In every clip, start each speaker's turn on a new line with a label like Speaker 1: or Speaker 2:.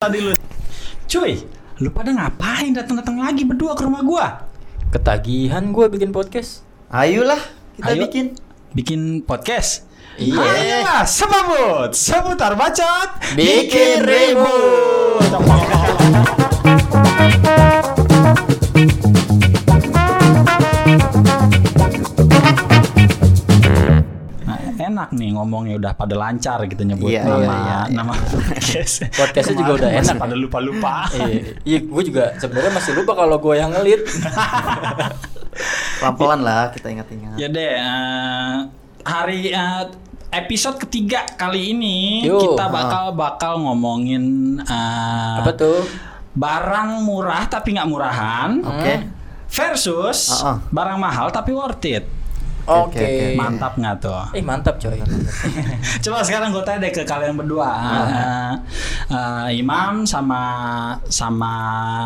Speaker 1: tadi lu. Cuy, lu pada ngapain datang-datang lagi berdua ke rumah gua?
Speaker 2: Ketagihan gue bikin podcast.
Speaker 3: Ayolah kita
Speaker 2: Ayo.
Speaker 3: bikin.
Speaker 1: Bikin podcast.
Speaker 2: Iya.
Speaker 1: Ayolah, sebabut, seputar bacot,
Speaker 3: Bikin ribut.
Speaker 1: Nah, enak nih ngomongnya udah pada lancar gitu nyebut
Speaker 3: Iya,
Speaker 1: nama
Speaker 3: iya, iya, iya.
Speaker 1: nama podcast.
Speaker 2: Podcastnya juga
Speaker 1: Kemarin
Speaker 2: udah
Speaker 1: masih
Speaker 2: enak.
Speaker 1: Pada lupa-lupa.
Speaker 2: Iya, iya gue juga sebenarnya masih lupa kalau gue yang ngelit.
Speaker 3: Pelan-pelan lah kita ingat-ingat.
Speaker 1: Ya deh, eh, hari eh, episode ketiga kali ini
Speaker 2: Yo.
Speaker 1: kita bakal bakal ngomongin eh,
Speaker 2: ah. Apa tuh?
Speaker 1: barang murah tapi nggak murahan
Speaker 3: Oke.
Speaker 1: versus
Speaker 3: Ah, ah.
Speaker 1: barang mahal tapi worth it.
Speaker 2: Oke.
Speaker 3: Oke, oke.
Speaker 1: Mantap nggak tuh?
Speaker 2: Eh mantap coy.
Speaker 1: Coba sekarang gue tanya deh ke kalian berdua, Eh, eh, Imam sama sama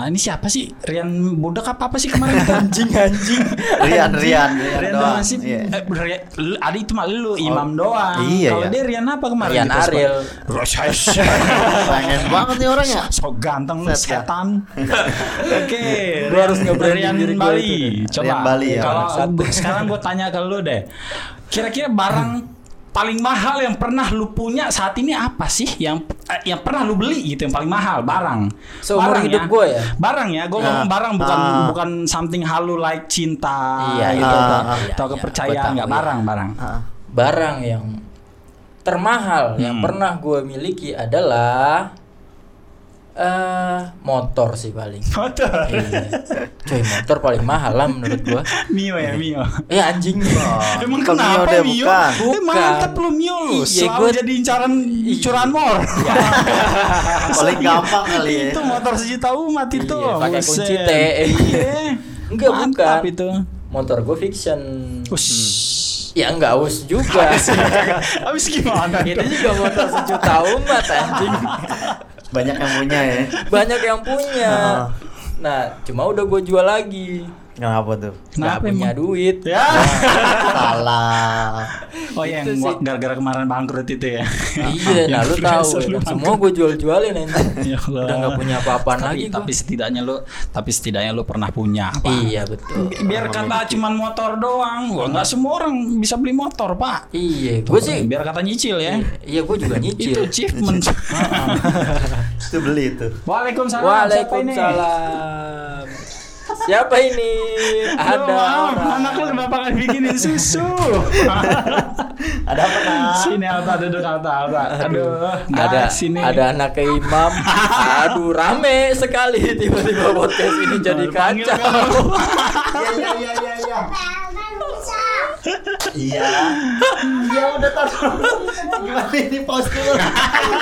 Speaker 1: ini siapa sih? Rian budak apa apa sih kemarin?
Speaker 2: anjing anjing.
Speaker 3: Rian, Oh iya, Rian, Rian,
Speaker 1: Rian
Speaker 3: doang.
Speaker 1: doang sih.
Speaker 3: Iya. Oh,
Speaker 1: Eh, Rian- lu- Adi itu mah lu Imam doang.
Speaker 3: iya,
Speaker 1: Kalau
Speaker 3: iya.
Speaker 1: dia Rian apa kemarin?
Speaker 2: Rian
Speaker 1: Gitu,
Speaker 2: Ariel.
Speaker 1: Sobat. Ros-
Speaker 3: Pengen banget nih orangnya.
Speaker 1: So ganteng lu
Speaker 3: Set, ya.
Speaker 1: setan. Oke,
Speaker 2: Gua harus nge-branding
Speaker 1: Rian
Speaker 2: diri gua
Speaker 1: Bali.
Speaker 2: itu.
Speaker 1: Coba.
Speaker 3: Rian Bali ya,
Speaker 1: Kalau
Speaker 2: bangsat.
Speaker 1: gua- sekarang gue tanya ke lu deh. Kira-kira barang paling mahal yang pernah lu punya saat ini apa sih yang eh, yang pernah lu beli gitu yang paling mahal barang
Speaker 2: Seumur
Speaker 1: Barang
Speaker 2: hidup gua ya?
Speaker 1: barang ya gue ngomong
Speaker 3: Ah.
Speaker 1: barang bukan
Speaker 3: Ah.
Speaker 1: bukan something halu like cinta
Speaker 2: Iya,
Speaker 1: gitu
Speaker 3: iya,
Speaker 1: atau,
Speaker 3: iya,
Speaker 1: atau
Speaker 2: iya. Gua
Speaker 1: kepercayaan
Speaker 2: tahu,
Speaker 1: nggak
Speaker 2: iya.
Speaker 1: barang barang
Speaker 3: Ah,
Speaker 2: Barang yang termahal yang
Speaker 1: Hmm.
Speaker 2: pernah gue miliki adalah eh motor sih paling.
Speaker 1: motor
Speaker 2: Iya. Coy motor paling mahal lah menurut gue.
Speaker 1: mio ya mio
Speaker 2: Eh anjing.
Speaker 1: Emang
Speaker 3: Bukan Mio
Speaker 1: kenapa
Speaker 3: deh,
Speaker 1: Mio?
Speaker 3: bukan.
Speaker 1: Eh, mantap
Speaker 2: Bukan.
Speaker 1: lu Mio lu.
Speaker 2: Iya,
Speaker 1: Selalu
Speaker 2: gua- Iya.
Speaker 1: jadi incaran curanmor.
Speaker 3: Paling gampang kali ya.
Speaker 1: itu motor sejuta umat itu.
Speaker 2: Iya, pakai
Speaker 1: Buset.
Speaker 2: kunci T. eh,
Speaker 1: Iya.
Speaker 2: Enggak,
Speaker 1: Mantap
Speaker 2: bukan.
Speaker 1: itu.
Speaker 2: Motor gue fiction.
Speaker 1: Ush.
Speaker 2: Ya enggak us juga.
Speaker 1: Abis gimana?
Speaker 2: Itu Hmm. Iya, juga motor sejuta umat anjing.
Speaker 3: Banyak yang punya ya.
Speaker 2: banyak yang punya.
Speaker 3: Heeh.
Speaker 2: Nah, cuma udah gue jual lagi.
Speaker 3: Kenapa tuh?
Speaker 2: Nggak
Speaker 1: Kenapa
Speaker 2: punya
Speaker 1: emang?
Speaker 2: duit.
Speaker 1: Ya.
Speaker 3: Salah.
Speaker 1: Oh yang
Speaker 2: Itu gitu sih.
Speaker 1: gua- gara-gara kemarin bangkrut itu ya.
Speaker 2: Iya, nah lu tahu.
Speaker 1: Influencer lu
Speaker 2: Dan
Speaker 1: bangkrut.
Speaker 2: semua gue jual-jualin anjing.
Speaker 1: Ya Allah.
Speaker 2: udah nggak punya apa-apaan
Speaker 1: Tapi-
Speaker 2: lagi. gua.
Speaker 1: Tapi setidaknya lu tapi setidaknya lu pernah punya apa?
Speaker 2: Iya betul.
Speaker 1: Biar kata cuman motor doang, wah nggak semua orang bisa beli motor pak.
Speaker 2: Iya, gue sih.
Speaker 1: biar kata nyicil ya.
Speaker 2: Iya, gue juga
Speaker 1: Itu
Speaker 2: nyicil.
Speaker 1: achievement. Iya.
Speaker 3: Itu beli itu.
Speaker 1: Waalaikumsalam.
Speaker 2: Waalaikumsalam. Siapa ini?
Speaker 1: Ada
Speaker 2: Ada orang.
Speaker 1: anak lu kenapa nggak bikinin susu?
Speaker 3: Ada apa nak?
Speaker 1: sini Alta duduk Alta Alta. Aduh, nggak,
Speaker 2: Ada
Speaker 1: sini.
Speaker 2: ada anak ke imam. Aduh rame sekali tiba-tiba podcast ini jadi
Speaker 1: Panggil
Speaker 2: kacau.
Speaker 1: kamu.
Speaker 3: Iya iya iya iya. Iya. Iya. Iya udah taruh. Gimana ini pause dulu.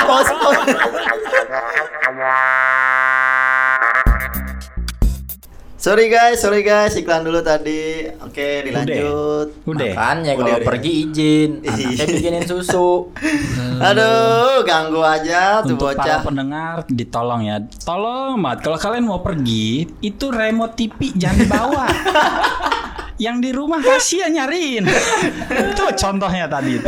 Speaker 3: Pause pause. Sorry guys, sorry guys, iklan dulu tadi. Oke, dilanjut.
Speaker 1: Udah.
Speaker 2: Makanya
Speaker 3: Udah,
Speaker 2: kalau
Speaker 3: udah.
Speaker 2: pergi izin, anaknya bikinin susu.
Speaker 3: Aduh, ganggu aja tuh
Speaker 1: Untuk para
Speaker 3: bocah.
Speaker 1: pendengar ditolong ya. Tolong banget kalau kalian mau pergi itu remote TV jangan dibawa. Yang di rumah kasihan nyariin. itu contohnya tadi itu.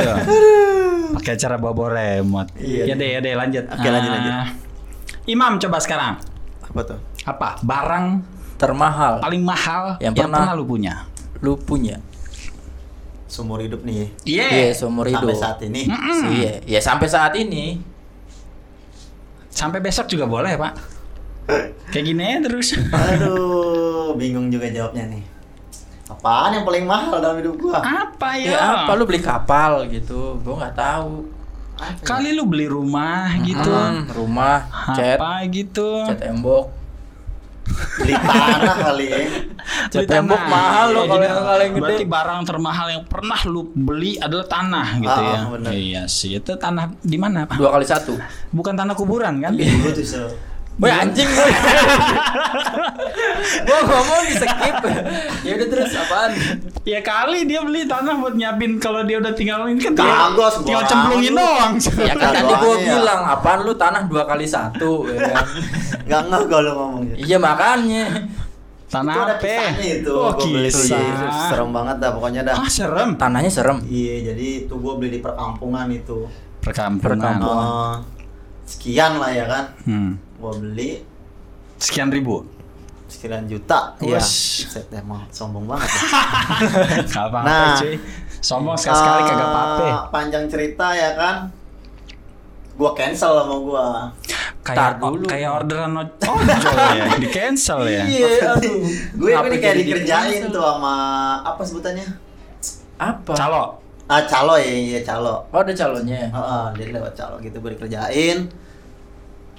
Speaker 1: Pakai cara bawa remote. Ya
Speaker 3: Iya.
Speaker 1: deh, ya deh lanjut.
Speaker 3: Oke, lanjut,
Speaker 1: Ah,
Speaker 3: lanjut.
Speaker 1: Imam coba sekarang.
Speaker 3: Apa tuh?
Speaker 1: Apa? Barang
Speaker 2: Termahal
Speaker 1: paling mahal yang,
Speaker 2: Yang
Speaker 1: pernah,
Speaker 2: pernah
Speaker 1: lu punya.
Speaker 2: lu punya.
Speaker 3: Seumur hidup nih.
Speaker 1: Iya.
Speaker 2: Iya, seumur hidup.
Speaker 3: Sampai saat ini.
Speaker 2: Iya, ya sampai saat ini.
Speaker 1: Sampai besok juga boleh, Pak. Kayak gini aja terus.
Speaker 3: Aduh, bingung juga jawabnya nih. Apaan yang paling mahal dalam hidup gua?
Speaker 1: apa ya?
Speaker 2: Ya apa lu beli kapal gitu? Gua nggak tahu.
Speaker 1: Kali lu beli rumah gitu.
Speaker 2: Hmm, rumah, cat,
Speaker 1: apa gitu
Speaker 2: cat tembok.
Speaker 3: Beli tanah kali ya.
Speaker 1: Beli
Speaker 2: Cat tembok
Speaker 1: tanah.
Speaker 2: mahal
Speaker 1: Iya,
Speaker 2: loh kalau
Speaker 1: jadi
Speaker 2: yang paling gede.
Speaker 1: berarti barang termahal yang pernah lu beli adalah tanah gitu
Speaker 3: Ah,
Speaker 1: ya
Speaker 3: ah, bener.
Speaker 1: iya sih itu tanah di mana pak
Speaker 2: Dua kali satu.
Speaker 1: bukan tanah kuburan kan Iya.
Speaker 3: Gua tuh so.
Speaker 2: Boy anjing boy. gua ngomong di skip. ya udah terus apaan?
Speaker 1: ya kali dia beli tanah buat nyiapin kalau dia udah tinggal ini kan
Speaker 3: Kagos,
Speaker 1: tinggal
Speaker 3: barang
Speaker 1: cemplungin
Speaker 3: lu.
Speaker 1: doang
Speaker 2: Ya kan
Speaker 3: Iya, Kagak
Speaker 2: tadi gua
Speaker 3: aneh ya.
Speaker 2: bilang apaan lu tanah dua kali satu ya kan?
Speaker 3: Gak ngeh kalau ngomongnya.
Speaker 2: Iya makanya
Speaker 1: tanah
Speaker 3: Itu ada
Speaker 1: apa
Speaker 3: kisahnya itu.
Speaker 1: oh
Speaker 3: gua beli tuh,
Speaker 1: kisah
Speaker 3: iya. Serem banget dah pokoknya dah.
Speaker 1: ah serem
Speaker 2: tanahnya serem.
Speaker 3: Iya, jadi itu gua beli di perkampungan itu.
Speaker 1: perkampungan
Speaker 2: Perkampungan.
Speaker 3: Eh, sekian lah ya kan.
Speaker 1: hmm.
Speaker 3: gua beli
Speaker 1: Sekian ribu.
Speaker 3: sekian juta
Speaker 1: Iya.
Speaker 3: Wes, set emang sombong banget ya.
Speaker 1: Gak apa-apa
Speaker 3: Nah.
Speaker 1: cuy. Sombong sekali-sekali kagak apa-apa.
Speaker 3: Eh, panjang cerita ya kan gua cancel sama gua
Speaker 2: Tar
Speaker 1: Kayak
Speaker 2: dulu.
Speaker 1: kayak orderan oj- ojol ya, di cancel ya.
Speaker 2: Iya, aduh.
Speaker 3: gue
Speaker 2: Apa
Speaker 3: ini kayak
Speaker 2: jadi
Speaker 3: dikerjain
Speaker 2: di-cancel?
Speaker 3: tuh sama apa sebutannya
Speaker 2: Apa?
Speaker 1: Calo.
Speaker 3: ah calo ya iya calo
Speaker 2: Oh, ada calonnya.
Speaker 3: Heeh, jadi lewat calo gitu gue dikerjain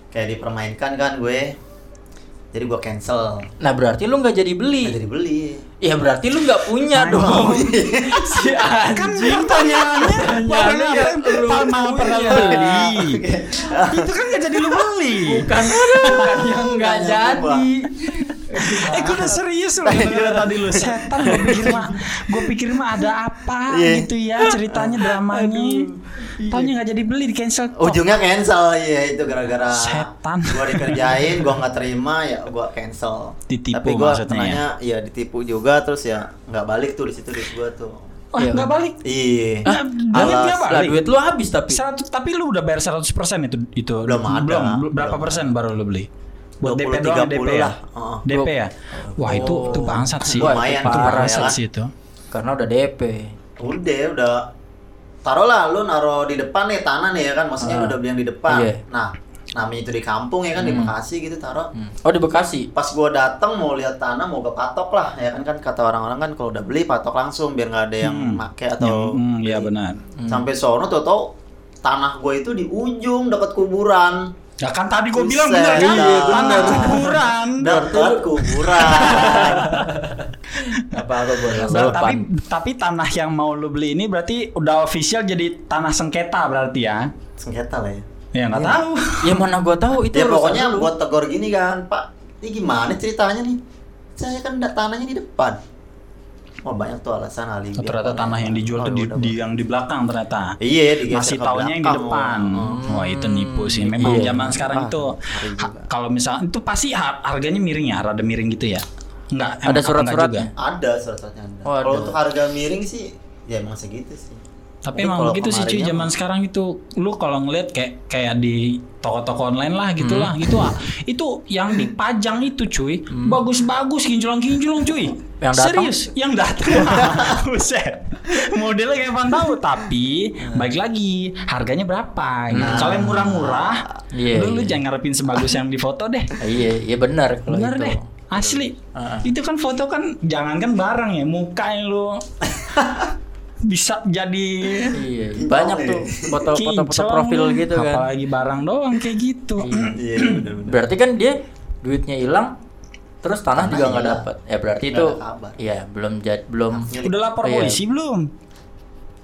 Speaker 3: kayak dipermainkan kan gue jadi gue cancel
Speaker 2: Nah, berarti lu nggak jadi
Speaker 3: Nggak
Speaker 2: beli.
Speaker 3: jadi Nah, beli
Speaker 2: Ya berarti lu nggak punya dong. si anjing.
Speaker 1: Kan pertanyaannya
Speaker 2: Pertanyaannya lu
Speaker 1: pernah pernah
Speaker 2: punya.
Speaker 1: beli itu kan gak jadi lu beli
Speaker 2: Bukan, bukan yang Ya, nggak
Speaker 3: Pertanyaan Nah, gua.
Speaker 2: jadi.
Speaker 1: eh gue udah serius loh Gila tadi lu setan gue pikir mah gue pikir mah ada apa
Speaker 3: Iya.
Speaker 1: gitu ya ceritanya dramanya taunya gak jadi beli di cancel
Speaker 3: ujungnya cancel iya itu gara-gara
Speaker 1: Setan.
Speaker 3: gue dikerjain gue nggak terima ya gue cancel
Speaker 1: Ditipu
Speaker 3: tapi gue
Speaker 1: maksudnya
Speaker 3: tenangnya ya ditipu juga terus ya nggak balik tuh di situ duit gue tuh
Speaker 1: oh,
Speaker 2: Iya,
Speaker 1: gak
Speaker 2: kan?
Speaker 1: balik
Speaker 3: iya
Speaker 1: Nah, duit dia
Speaker 3: alas.
Speaker 1: balik.
Speaker 2: Lah duit lu habis tapi.
Speaker 1: Seratus- tapi lu udah bayar 100% itu itu
Speaker 3: Belum ada.
Speaker 1: belum berapa
Speaker 3: Belum.
Speaker 1: persen baru lu beli buat
Speaker 3: 20,
Speaker 1: DP doang
Speaker 3: 30
Speaker 1: DP ya
Speaker 3: lah. Heeh.
Speaker 1: DP ya wah itu
Speaker 2: Oh.
Speaker 1: itu bangsat sih itu
Speaker 3: Lumayan, parah,
Speaker 1: bangsat
Speaker 3: ya kan?
Speaker 1: sih itu
Speaker 2: Karena udah DP.
Speaker 3: udah udah taruhlah lu naro di depan nih tanah nih ya kan maksudnya lu
Speaker 2: Ah.
Speaker 3: udah beli yang di depan
Speaker 2: Iya.
Speaker 3: nah namanya itu di kampung ya kan di Bekasi gitu taruh
Speaker 2: Hmm. Oh, di Bekasi.
Speaker 3: pas gua datang mau lihat tanah mau kepatok lah ya kan kan kata orang-orang kan kalau udah beli patok langsung biar nggak ada yang make atau
Speaker 1: Yang- hmm, ya benar
Speaker 3: sampai sono tau tau tanah gua itu di ujung dekat kuburan
Speaker 1: Ya kan tadi gue bilang
Speaker 3: Buset,
Speaker 1: bener kan?
Speaker 3: iya,
Speaker 1: Tanah
Speaker 3: bener.
Speaker 1: kuburan.
Speaker 3: dekat kuburan
Speaker 2: Apa apa boleh.
Speaker 1: Nah, tapi tapi tanah yang mau lu beli ini berarti udah official jadi tanah sengketa berarti ya?
Speaker 3: sengketa lah ya
Speaker 1: Ya nggak tahu.
Speaker 2: ya mana gua tahu itu
Speaker 3: ya
Speaker 2: urusan
Speaker 3: pokoknya
Speaker 2: lu.
Speaker 3: buat tegor gini kan pak ini gimana ceritanya nih saya kan da- tanahnya di depan wah banyak tuh alasan alibi
Speaker 1: Oh, ternyata
Speaker 3: apa.
Speaker 1: tanah yang dijual tuh
Speaker 3: Oh,
Speaker 1: di,
Speaker 3: udah,
Speaker 1: di
Speaker 3: Bang.
Speaker 1: yang di belakang ternyata.
Speaker 3: iya digeser
Speaker 1: Masih
Speaker 3: ke
Speaker 1: taunya yang di
Speaker 3: belakang. Oh. Hmm.
Speaker 1: depan. Wah itu nipu sih. Memang
Speaker 2: Iya.
Speaker 1: zaman sekarang
Speaker 3: Ah,
Speaker 1: itu
Speaker 3: ngeri
Speaker 1: ha-
Speaker 3: juga.
Speaker 1: kalau misalnya itu pasti har- harganya miring ya, rada miring gitu ya. Enggak,
Speaker 2: Ada surat-suratnya?
Speaker 3: ada surat-suratnya ada
Speaker 2: Oh, ada.
Speaker 3: kalau untuk harga miring sih ya emang segitu sih
Speaker 1: Tapi
Speaker 3: Tapi
Speaker 1: emang
Speaker 3: kalau
Speaker 1: begitu sih cuy
Speaker 3: kemarinnya
Speaker 1: zaman sekarang itu lu kalau ngeliat kayak kayak di toko-toko online lah gitulah
Speaker 2: Hmm.
Speaker 1: gitu ah. Itu yang dipajang itu cuy, bagus-bagus kinjulang-kinjulang cuy.
Speaker 2: Yang datang?
Speaker 1: Serius, yang datang. Buset. Modelnya kayak apaan
Speaker 2: Hmm.
Speaker 1: tahu, tapi baik lagi harganya berapa. gitu. Kalau yang murah-murah,
Speaker 2: Nah. Iya,
Speaker 1: lu, lu
Speaker 2: iya.
Speaker 1: jangan ngarepin sebagus yang di foto deh.
Speaker 2: Iya, iya benar kalau
Speaker 1: Bener
Speaker 2: itu. Ah.
Speaker 1: deh. Asli. Itu kan foto kan jangankan barang ya, muka yang lu bisa jadi
Speaker 2: Iya, banyak tuh foto-foto
Speaker 1: Kinclong
Speaker 2: profil
Speaker 1: lah.
Speaker 2: gitu kan.
Speaker 1: apalagi barang doang kayak gitu
Speaker 3: iya bener-bener
Speaker 2: Berarti kan dia duitnya hilang terus tanah
Speaker 3: Tanah
Speaker 2: juga nggak
Speaker 3: hilang.
Speaker 2: dapat. Ya berarti
Speaker 3: Nggak
Speaker 2: itu
Speaker 3: ada kabar.
Speaker 2: iya belum jad belum
Speaker 3: Milik.
Speaker 1: udah lapor
Speaker 2: Iya.
Speaker 1: polisi belum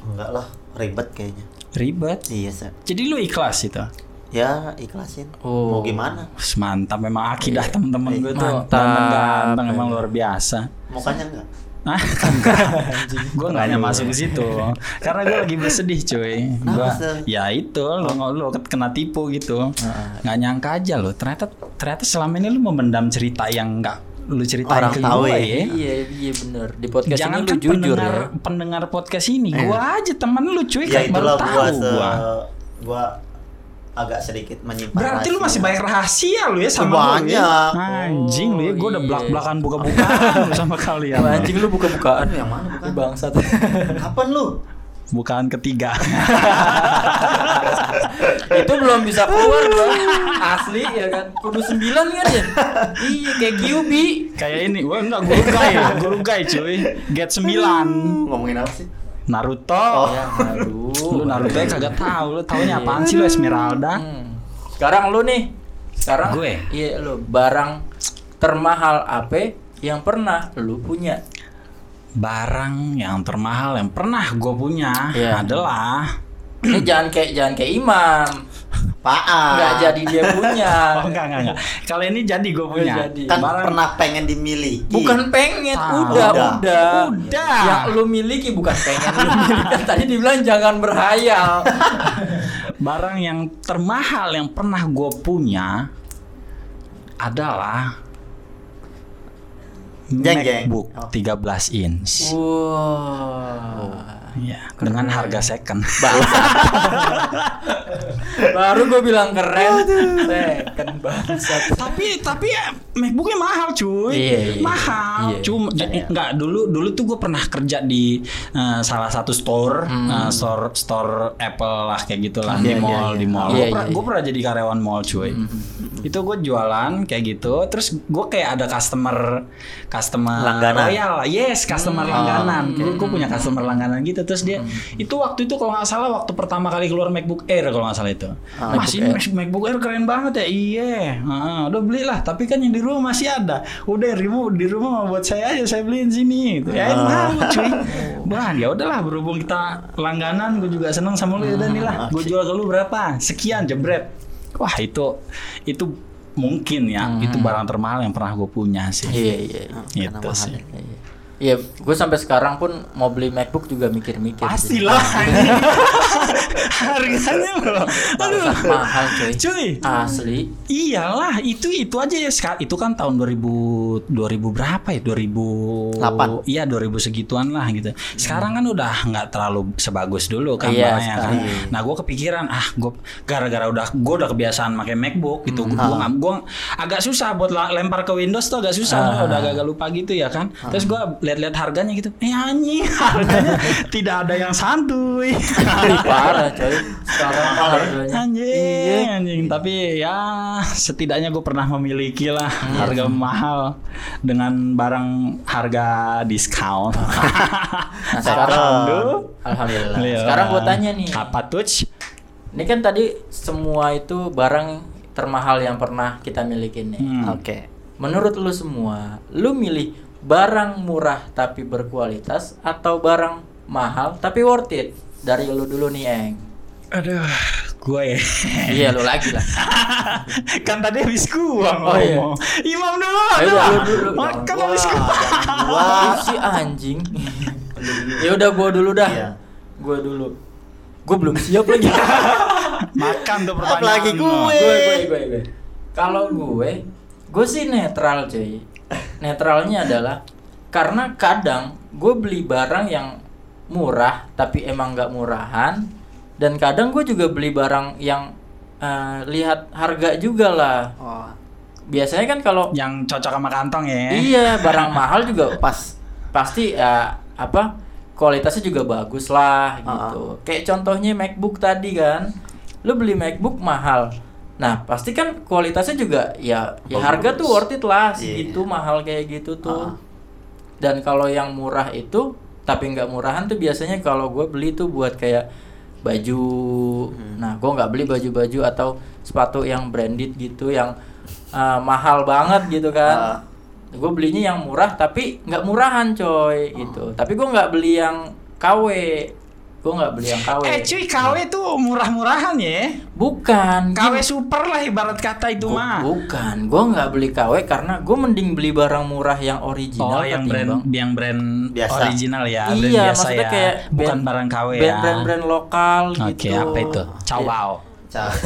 Speaker 3: enggak lah ribet kayaknya
Speaker 1: ribet
Speaker 3: iya sih
Speaker 1: jadi lu ikhlas itu
Speaker 3: ya ikhlasin
Speaker 2: Oh.
Speaker 3: mau gimana
Speaker 1: Wah, mantap memang akidah temen-temen gue tuh
Speaker 2: Iya. Mantap.
Speaker 1: temen ganteng emang luar biasa
Speaker 3: mukanya enggak
Speaker 1: Nah, gue nggak hanya masuk ke situ karena gue lagi bersedih cuy gue
Speaker 3: Kenapa tuh?
Speaker 1: ya itu lo lo kena tipu gitu nggak nyangka aja lo ternyata ternyata selama ini lu memendam cerita yang nggak lu ceritain
Speaker 3: Orang
Speaker 1: ke
Speaker 3: tahu
Speaker 1: gue
Speaker 3: ya.
Speaker 1: ya
Speaker 2: Iya, iya benar. Di podcast
Speaker 1: Jangan
Speaker 2: ini lu
Speaker 1: kan
Speaker 2: jujur
Speaker 1: pendengar,
Speaker 2: ya. Iya.
Speaker 1: pendengar podcast ini, gua aja teman lu cuy
Speaker 3: ya
Speaker 1: kan baru
Speaker 3: itulah
Speaker 1: tahu
Speaker 3: gua se
Speaker 1: gua.
Speaker 3: gua agak sedikit menyimpan
Speaker 1: Berarti lu masih
Speaker 3: rahasia.
Speaker 1: banyak rahasia lu ya sama gua ya?
Speaker 3: Banyak.
Speaker 1: Anjing lu ya, gua udah
Speaker 2: Oh, iya.
Speaker 1: belak-belakan buka-bukaan lu sama kalian.
Speaker 2: Wah, Anjing lu buka-bukaan
Speaker 3: Aduh, yang mana bukan?
Speaker 2: Lu Bangsat.
Speaker 3: kapan lu
Speaker 1: Bukaan ketiga.
Speaker 2: itu belum bisa keluar bro asli ya kan kudu sembilan kan ya iya kayak QB
Speaker 1: Kayak ini, gua enggak guru guy, guru guy cuy. Get 9.
Speaker 3: ngomongin apa sih
Speaker 1: Naruto.
Speaker 3: Oh.
Speaker 2: ya aduh
Speaker 1: Lu Naruto ya kagak tahu, lu taunya
Speaker 2: Iya.
Speaker 1: apaan sih lu Esmeralda?
Speaker 2: Hmm. Sekarang lu nih. Sekarang
Speaker 1: Gue?
Speaker 2: Iya, lu barang termahal apa yang pernah lu punya?
Speaker 1: Barang yang termahal yang pernah gua punya
Speaker 2: Iya.
Speaker 1: adalah
Speaker 2: Ini Eh, jangan kayak jangan kayak Imam.
Speaker 3: Paan.
Speaker 2: Enggak jadi dia punya.
Speaker 1: Oh enggak enggak enggak. Kalau ini jadi gue punya.
Speaker 2: jadi.
Speaker 3: Kan
Speaker 1: Barang-
Speaker 3: pernah pengen dimiliki.
Speaker 2: Bukan pengen,
Speaker 1: Ah,
Speaker 2: udah,
Speaker 3: udah.
Speaker 2: udah,
Speaker 1: Udah.
Speaker 2: Yang lu miliki bukan pengen lu miliki. Kan tadi dibilang jangan berhayal.
Speaker 1: Barang yang termahal yang pernah gue punya adalah
Speaker 3: Jeng, jeng.
Speaker 2: Oh.
Speaker 1: MacBook 13 inch.
Speaker 2: Wah.
Speaker 1: Iya, dengan harga second.
Speaker 2: Baru gue bilang keren. Second bangsat.
Speaker 1: tapi tapi ya, MacBooknya mahal cuy
Speaker 2: Iya, iya,
Speaker 1: mahal
Speaker 2: iya.
Speaker 1: cuma j- nggak dulu dulu tuh gue pernah kerja di eh, salah satu store eh, store store Apple lah kayak gitulah di
Speaker 2: Hmm. Iya, iya,
Speaker 1: mall
Speaker 2: iya.
Speaker 1: di mall
Speaker 2: Iya,
Speaker 1: gue
Speaker 2: iya,
Speaker 1: pernah,
Speaker 2: iya. Hmm,
Speaker 1: gua pernah jadi karyawan mall cuy itu gue jualan kayak gitu terus gue kayak ada customer customer
Speaker 3: Langganan.
Speaker 1: loyal yes customer
Speaker 2: Hmm.
Speaker 1: langganan
Speaker 2: Oh.
Speaker 1: gue punya customer langganan gitu terus dia itu waktu itu kalau nggak salah waktu pertama kali keluar MacBook Air kalau nggak salah itu masih
Speaker 2: Ah, MacBook Air.
Speaker 1: Mas, Eh, MacBook Air keren banget ya. Iya. Heeh, udah belilah, tapi kan yang di rumah masih ada. Udah di rumah di rumah buat saya aja saya beliin sini gitu. Ya mau cuy. Bahan ya udahlah berhubung kita langganan gue juga seneng sama lu ya udah nih lah. Gue jual ke lu berapa? Sekian jebret. Wah, itu itu mungkin ya. Itu barang termahal yang pernah gue punya sih.
Speaker 2: Iya iya. iya.
Speaker 1: Gitu
Speaker 3: Karena mahal
Speaker 1: sih.
Speaker 3: ya.
Speaker 2: Iya. Iya, gue sampai sekarang pun mau beli MacBook juga mikir-mikir. sih.
Speaker 1: Pastilah anjing. Harganya loh. Aduh.
Speaker 2: Bangsat mahal cuy.
Speaker 1: Cuy,
Speaker 2: Asli.
Speaker 1: Iyalah, itu itu aja ya sekali. Itu kan tahun 2000 2000 berapa ya? 2000
Speaker 3: Delapan.
Speaker 1: Iya, 2000 segituan lah gitu. Sekarang kan udah nggak terlalu sebagus dulu kan
Speaker 2: Iya,
Speaker 1: barangnya kan. Nah, gue kepikiran ah gue gara-gara udah gue udah kebiasaan pakai MacBook gitu. Gue gua, nggak- gua agak susah buat la- lempar ke Windows tuh agak susah. Gua udah agak lupa gitu ya kan. Terus gue lihat-lihat harganya gitu. Eh anjing, harganya tidak ada yang santuy.
Speaker 2: Ih, parah coy. Sekarang harganya. Iya.
Speaker 1: Anjing, anjing. Tapi ya setidaknya gue pernah memiliki lah
Speaker 2: Iya.
Speaker 1: harga mahal dengan barang harga diskon.
Speaker 2: Nah, sekarang alhamdulillah.
Speaker 1: Iya.
Speaker 2: Sekarang gue tanya nih.
Speaker 1: Apa tuh?
Speaker 2: Ini kan tadi semua itu barang termahal yang pernah kita miliki nih.
Speaker 3: Oke.
Speaker 2: Menurut lu semua, lu milih barang murah tapi berkualitas atau barang mahal tapi worth it? Dari lu dulu nih, Eng.
Speaker 1: Aduh, gue ya.
Speaker 2: iya, lu lagi lah.
Speaker 1: kan tadi habis gua
Speaker 2: Oh, iya.
Speaker 1: ngomong. Imam dulu.
Speaker 2: Ayo,
Speaker 1: aduh.
Speaker 2: lu dulu,
Speaker 1: Ah,
Speaker 2: jangan
Speaker 1: Kan
Speaker 2: gua.
Speaker 1: habis gua.
Speaker 2: Wah, si anjing. ya udah gua dulu dah.
Speaker 3: Iya.
Speaker 2: Gua dulu. Gua belum siap lagi.
Speaker 1: Makan tuh pertanyaan.
Speaker 3: Apalagi
Speaker 1: lo.
Speaker 3: gue.
Speaker 2: gue gue gue gue. Kalau gue, gue sih netral cuy. Netralnya adalah karena kadang gue beli barang yang murah tapi emang nggak murahan dan kadang gue juga beli barang yang eh, lihat harga juga lah.
Speaker 3: Oh,
Speaker 2: Biasanya kan kalau
Speaker 1: Yang cocok sama kantong ya.
Speaker 2: iya barang mahal juga
Speaker 3: pas.
Speaker 2: pasti eh, apa kualitasnya juga bagus lah gitu. Kayak contohnya MacBook tadi kan, lu beli MacBook mahal. Nah pasti kan kualitasnya juga ya ya
Speaker 3: Bagus.
Speaker 2: harga tuh worth it lah
Speaker 3: Iya.
Speaker 2: segitu mahal kayak gitu tuh.
Speaker 3: Ah.
Speaker 2: Dan kalau yang murah itu tapi nggak murahan tuh biasanya kalau gue beli tuh buat kayak baju.
Speaker 3: Hmm.
Speaker 2: Nah gue nggak beli baju-baju atau sepatu yang branded gitu yang eh, mahal banget gitu kan
Speaker 3: Ah.
Speaker 2: gue belinya yang murah tapi nggak murahan
Speaker 3: Ah.
Speaker 2: coy gitu tapi gue nggak beli yang KW gue nggak beli yang KW
Speaker 1: Eh cuy, KW tuh murah-murahan ya.
Speaker 2: bukan
Speaker 1: KW
Speaker 2: Gini,
Speaker 1: super lah ibarat kata itu
Speaker 2: Iya. gua-
Speaker 1: mah.
Speaker 2: bukan gue nggak beli KW karena gue mending beli barang murah yang
Speaker 1: Oh,
Speaker 2: original
Speaker 1: yang brand
Speaker 2: ketimbang-
Speaker 1: yang brand
Speaker 3: Biasa.
Speaker 1: original ya, brand
Speaker 2: iya
Speaker 1: biasa
Speaker 2: maksudnya
Speaker 1: ya.
Speaker 2: kayak
Speaker 1: Bukan
Speaker 2: brand-
Speaker 1: barang KW
Speaker 2: brand,
Speaker 1: ya.
Speaker 2: brand brand lokal
Speaker 1: Oke,
Speaker 2: gitu
Speaker 1: apa itu? Cawao.
Speaker 3: Cak.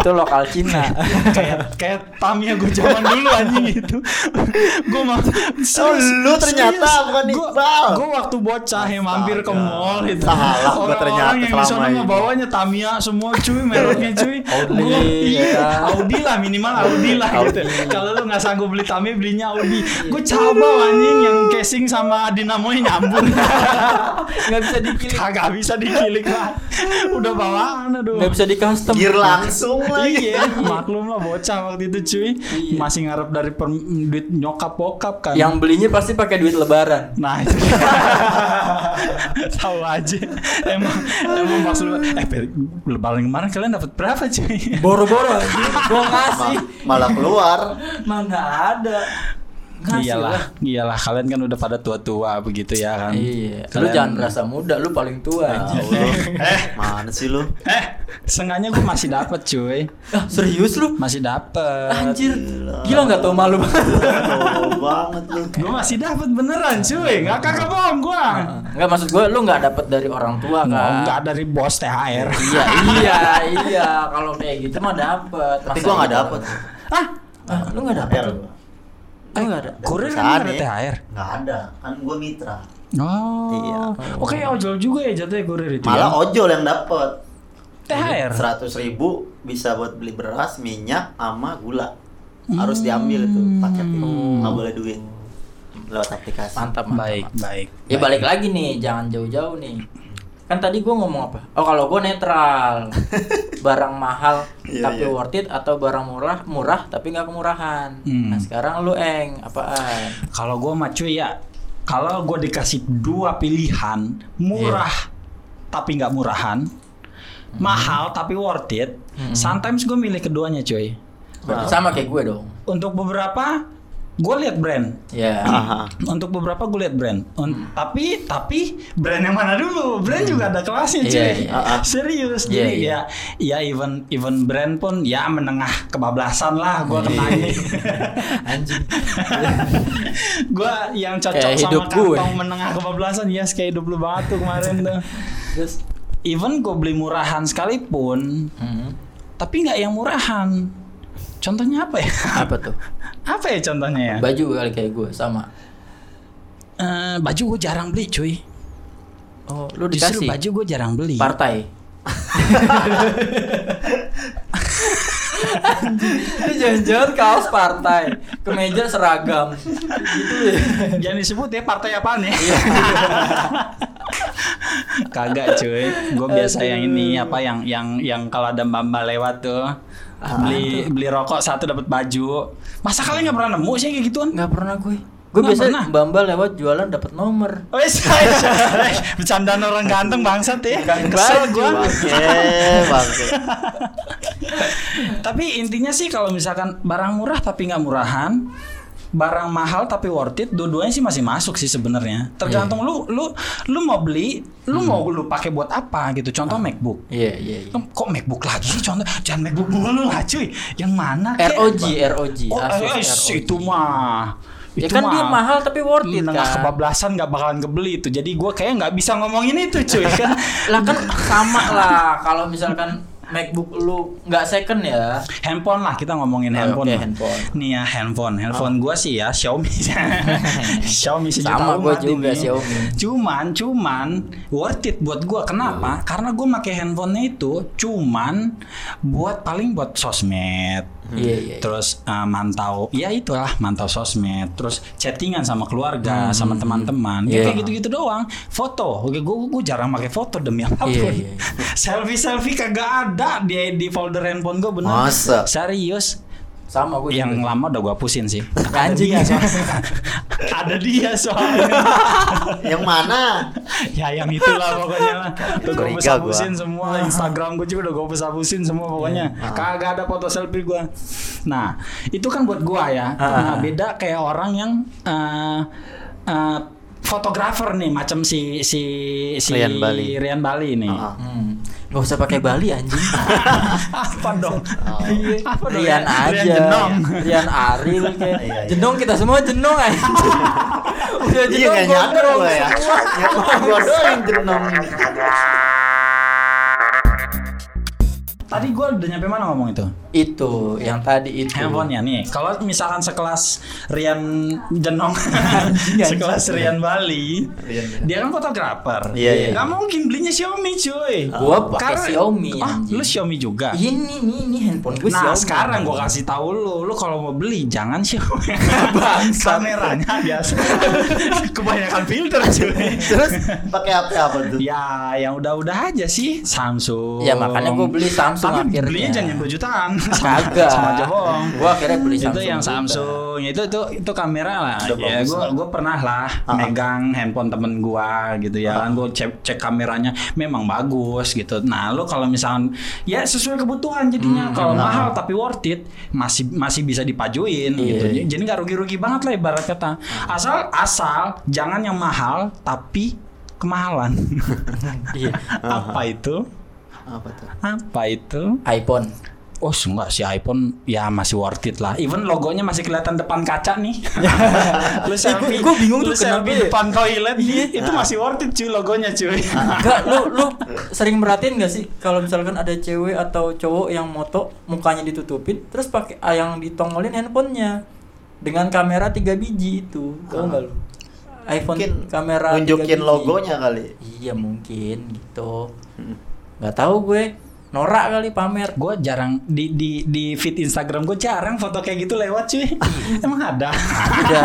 Speaker 2: itu lokal Cina
Speaker 1: kayak kayak Tamiya gue zaman dulu anjing gitu. itu. gue mau
Speaker 3: Oh, lu ternyata bukan Iqbal.
Speaker 1: Gue waktu bocah yang mampir ke
Speaker 3: Astaga.
Speaker 1: mall itu.
Speaker 3: Salah gua
Speaker 1: Orang-orang
Speaker 3: ternyata
Speaker 1: yang di
Speaker 3: selama
Speaker 1: sana
Speaker 3: ini.
Speaker 1: ngebawanya Tamiya semua cuy, mereknya cuy.
Speaker 2: Audi,
Speaker 1: Gua- iya,
Speaker 2: ya.
Speaker 1: Audi lah minimal Audi lah gitu.
Speaker 2: Audi.
Speaker 1: Kalau lu nggak sanggup beli Tamiya belinya Audi. Gue coba anjing yang casing sama dinamonya nyambung.
Speaker 2: nggak bisa dikilik
Speaker 1: Kagak bisa dikilik lah. Udah bawaan aduh.
Speaker 2: nggak bisa di custom
Speaker 3: Gear langsung lagi.
Speaker 1: Iya, maklum lah bocah waktu itu cuy. Masih ngarep dari per- duit nyokap bokap kan.
Speaker 2: Iya. yang belinya pasti pakai duit lebaran
Speaker 1: Nah, itu. tahu aja. Emang emang pas lu eh per- lebaran kemarin kalian dapat berapa cuy?
Speaker 2: boro-boro gue ngasih
Speaker 3: Ma- malah keluar.
Speaker 2: mana ada Ngasih lah.
Speaker 1: iyalah, iyalah kalian kan udah pada tua-tua begitu ya kan.
Speaker 2: Iya, lu
Speaker 1: Kalian-
Speaker 2: jangan merasa muda, lu paling tua.
Speaker 1: Nah.
Speaker 3: Tahu
Speaker 2: anjing.
Speaker 3: lu. Eh, mana sih lu?
Speaker 1: Eh, sengaja gue masih dapat cuy.
Speaker 2: Ah, serius lu?
Speaker 1: Masih dapat.
Speaker 2: Anjir, gila nggak tau malu banget.
Speaker 3: Tahu banget lu.
Speaker 1: Gue masih dapat beneran cuy. Nggak kagak bohong gue.
Speaker 2: Ah, Nggak maksud gue, lu nggak dapet dari orang tua kan?
Speaker 1: Enggak dari bos THR.
Speaker 2: Iya, iya, iya. Kalau kayak gitu mah dapet.
Speaker 3: Tapi
Speaker 2: Masa
Speaker 3: gua nggak
Speaker 2: gitu?
Speaker 3: dapet.
Speaker 1: Ah,
Speaker 2: Ah, lu nggak dapet?
Speaker 3: R
Speaker 2: Lu nggak ada.
Speaker 1: kurir kan
Speaker 3: Perusahaan
Speaker 1: ada
Speaker 3: ya.
Speaker 1: THR.
Speaker 3: Nggak ada, kan gua mitra.
Speaker 1: Oh.
Speaker 3: Iya.
Speaker 1: Oke, ojol juga ya jatuhnya kurir itu.
Speaker 3: Malah
Speaker 1: ya?
Speaker 3: ojol yang dapat.
Speaker 1: THR.
Speaker 3: Seratus ribu bisa buat beli beras, minyak, sama gula. Harus diambil itu paket itu, nggak boleh duit lewat aplikasi.
Speaker 2: Mantap, mantap.
Speaker 1: Baik, baik.
Speaker 2: Ya balik lagi nih, jangan jauh-jauh nih. Kan tadi gue ngomong apa? Oh kalau gue netral, barang mahal
Speaker 3: Iya,
Speaker 2: tapi
Speaker 3: iya.
Speaker 2: worth it atau barang murah murah tapi nggak kemurahan.
Speaker 1: Hmm.
Speaker 2: Nah sekarang lu eng apaan?
Speaker 1: Kalau gue mah cuy ya, kalau gue dikasih dua pilihan, murah
Speaker 3: Iya.
Speaker 1: tapi nggak murahan,
Speaker 3: Mm-hmm.
Speaker 1: mahal tapi worth it, sometimes gue milih keduanya cuy.
Speaker 2: Berarti sama kayak gue dong.
Speaker 1: Untuk beberapa gue lihat brand,
Speaker 2: Ya.
Speaker 3: Aha.
Speaker 1: untuk beberapa gue lihat brand. Un-
Speaker 2: Hmm.
Speaker 1: Tapi tapi brand yang mana dulu? Brand juga ada kelasnya cuy.
Speaker 2: Iya, iya.
Speaker 1: Ah, ah. Serius.
Speaker 2: Iya,
Speaker 1: Jadi
Speaker 2: iya.
Speaker 1: ya ya even even brand pun ya menengah kebablasan lah gue
Speaker 2: Iya,
Speaker 1: kenanya.
Speaker 2: Anjing.
Speaker 1: gue yang cocok
Speaker 2: Kayak hidup
Speaker 1: sama
Speaker 2: gue.
Speaker 1: kantong menengah kebablasan ya yes, kayak hidup lu banget tuh kemarin tuh.
Speaker 2: Terus.
Speaker 1: Even gue beli murahan sekalipun,
Speaker 2: Hmm.
Speaker 1: tapi nggak yang murahan. Contohnya apa ya?
Speaker 2: Apa tuh?
Speaker 1: apa ya contohnya ya?
Speaker 2: Baju kali kayak gue sama.
Speaker 1: Eh, baju gue jarang beli cuy.
Speaker 2: Oh lu
Speaker 1: Justru
Speaker 2: dikasih.
Speaker 1: baju gue jarang beli.
Speaker 2: Partai. Lu jangan-jangan kaos partai, kemeja seragam. Gitu ya.
Speaker 1: Jangan disebut ya partai apaan ya?
Speaker 2: Iya.
Speaker 1: Kagak cuy, gue biasa yang ini apa yang yang yang kalau ada mbak mbak lewat tuh
Speaker 2: Ah,
Speaker 1: beli beli rokok satu dapat baju. Masa kalian nggak pernah nemu sih kayak gituan?
Speaker 2: Nggak pernah gue. Gue
Speaker 1: Nggak
Speaker 2: biasa
Speaker 1: pernah.
Speaker 2: bamba lewat jualan dapat nomor.
Speaker 1: Wes, wes, wes. bercandaan orang ganteng bangsat ya.
Speaker 2: Bukan
Speaker 1: Kesel
Speaker 2: baju.
Speaker 1: gue.
Speaker 3: Bangke, bangke.
Speaker 1: Tapi intinya sih kalau misalkan barang murah tapi nggak murahan, barang mahal tapi worth it, dua-duanya sih masih masuk sih sebenarnya. Tergantung
Speaker 2: Iya.
Speaker 1: lu lu lu mau beli, lu mau
Speaker 2: Hmm.
Speaker 1: lu pakai buat apa gitu. Contoh MacBook.
Speaker 2: Iya iya. iya.
Speaker 1: Kok MacBook lagi sih contoh? Jangan MacBook dulu lah cuy. Yang mana kek?
Speaker 2: ROG ROG.
Speaker 1: Oh,
Speaker 2: Asus
Speaker 1: eh,
Speaker 2: ROG.
Speaker 1: itu mah.
Speaker 2: Ya
Speaker 1: Itu
Speaker 2: kan
Speaker 1: mah.
Speaker 2: dia mahal tapi worth it
Speaker 1: Menengah
Speaker 2: kan.
Speaker 1: kebablasan nggak bakalan kebeli itu. Jadi gua kayak nggak bisa ngomongin itu cuy kan.
Speaker 2: Lah kan sama lah kalau misalkan MacBook lu nggak second ya.
Speaker 1: handphone lah kita ngomongin
Speaker 2: Oh,
Speaker 1: handphone,
Speaker 2: oke,
Speaker 1: lah.
Speaker 2: handphone. Oh.
Speaker 1: nih ya handphone handphone gua sih ya Xiaomi Xiaomi sejuta
Speaker 2: Sama gue
Speaker 1: umat
Speaker 2: juga
Speaker 1: ini.
Speaker 2: Xiaomi.
Speaker 1: cuman cuman worth it buat gua
Speaker 2: Iya.
Speaker 1: kenapa karena gua pakai handphonenya itu cuman buat paling buat sosmed
Speaker 2: Iya iya. iya.
Speaker 1: terus eh, mantau ya itulah mantau sosmed terus chattingan sama keluarga sama teman-teman ya
Speaker 2: Hmm. Iya.
Speaker 1: kayak gitu-gitu doang foto oke gua gua jarang pakai foto demi apapun
Speaker 2: Iya, iya, iya.
Speaker 1: selfie selfie kagak ada di di folder handphone gua bener kan?
Speaker 3: Masa?
Speaker 1: serius
Speaker 2: Sama gue
Speaker 1: yang
Speaker 2: juga.
Speaker 1: lama udah gua hapusin sih
Speaker 2: Anjing.
Speaker 1: Iya. Ada dia soalnya. ada dia soalnya
Speaker 3: Yang mana?
Speaker 1: ya yang itulah pokoknya lah udah gue
Speaker 3: Curiga
Speaker 1: hapus hapusin semua Instagram gue juga udah gue hapus hapusin semua pokoknya
Speaker 3: Iya. Ah.
Speaker 1: kagak ada foto selfie gue nah itu kan buat gue ya nah,
Speaker 3: Ah.
Speaker 1: beda kayak orang yang eh, eh, fotografer nih macam si si si
Speaker 3: Rian Bali.
Speaker 1: Rian Bali nih
Speaker 3: Ah.
Speaker 2: Hmm. Gak usah pakai Bali anjing.
Speaker 1: apa dong
Speaker 3: Ah.
Speaker 1: Iya, apa dong ya?
Speaker 2: Rian aja.
Speaker 1: Jenong.
Speaker 2: Rian Aril kayak.
Speaker 3: Iya, iya.
Speaker 2: Jenong kita semua jenong anjing. Udah
Speaker 3: Iya
Speaker 2: jenong
Speaker 3: nggak nyadar
Speaker 2: gondrong
Speaker 3: gue ya.
Speaker 2: semua.
Speaker 3: Ya gue doang jenong.
Speaker 1: tadi gue udah nyampe mana ngomong itu
Speaker 2: Itu yang tadi itu.
Speaker 1: handphonenya nih kalau misalkan sekelas Rian Jenong
Speaker 2: Iya,
Speaker 1: sekelas Rian Bali dia kan fotografer
Speaker 3: Iya, iya.
Speaker 1: nggak mungkin belinya Xiaomi cuy
Speaker 2: Gua pakai
Speaker 1: Karena-
Speaker 2: Xiaomi,
Speaker 1: ah
Speaker 2: anjing.
Speaker 1: lu Xiaomi juga
Speaker 2: Ini ini ini handphone gue
Speaker 1: nah
Speaker 2: Xiaomi.
Speaker 1: sekarang gua kasih tahu lu lu kalau mau beli jangan Xiaomi
Speaker 2: Bangsat.
Speaker 1: kameranya biasa kebanyakan filter cuy
Speaker 3: Terus pakai apa apa tuh?
Speaker 1: Ya, yang udah-udah aja sih Samsung.
Speaker 2: Ya, makanya gua beli Samsung
Speaker 1: Tapi
Speaker 2: akhirnya.
Speaker 1: belinya jangan yang 2 jutaan.
Speaker 2: Kagak.
Speaker 1: Sama aja bohong.
Speaker 2: Gua akhirnya beli
Speaker 1: Itu
Speaker 2: Samsung
Speaker 1: yang
Speaker 2: juga.
Speaker 1: Samsung. Itu itu itu kamera lah.
Speaker 3: Udah
Speaker 1: ya,
Speaker 3: bagus
Speaker 1: gua
Speaker 3: lah.
Speaker 1: gua pernah lah
Speaker 2: Ah,
Speaker 1: megang handphone temen gua gitu ya. Kan gua cek, cek kameranya memang bagus gitu. Nah, lu kalau misalkan ya sesuai kebutuhan jadinya
Speaker 2: Hmm,
Speaker 1: kalau mahal tapi worth it masih masih bisa dipajuin gitu.
Speaker 2: Ah. Iya.
Speaker 1: Jadi nggak rugi-rugi banget lah ibarat kata. Asal asal jangan yang mahal tapi kemahalan.
Speaker 2: Iya.
Speaker 1: apa itu
Speaker 3: Apa tuh?
Speaker 1: apa itu
Speaker 2: iPhone.
Speaker 1: oh enggak si iPhone ya masih worth it lah even logonya masih kelihatan depan kaca nih lu selfie
Speaker 2: gua bingung
Speaker 1: lu
Speaker 2: tuh kenapa
Speaker 1: selfie
Speaker 2: ya?
Speaker 1: depan toilet itu masih worth it cuy logonya cuy
Speaker 2: Enggak, lu lu sering merhatiin gak sih kalau misalkan ada cewek atau cowok yang moto mukanya ditutupin terus pakai ah, yang ditongolin handphonenya dengan kamera tiga biji itu tau nggak lu iPhone
Speaker 3: mungkin
Speaker 2: kamera
Speaker 3: nunjukin
Speaker 2: 3 gigi.
Speaker 3: logonya kali
Speaker 2: Iya mungkin gitu.
Speaker 3: Hmm.
Speaker 2: Nggak tahu gue. Norak kali pamer.
Speaker 1: Gue jarang di di di feed Instagram gue jarang foto kayak gitu lewat cuy. Emang ada.
Speaker 2: Ada,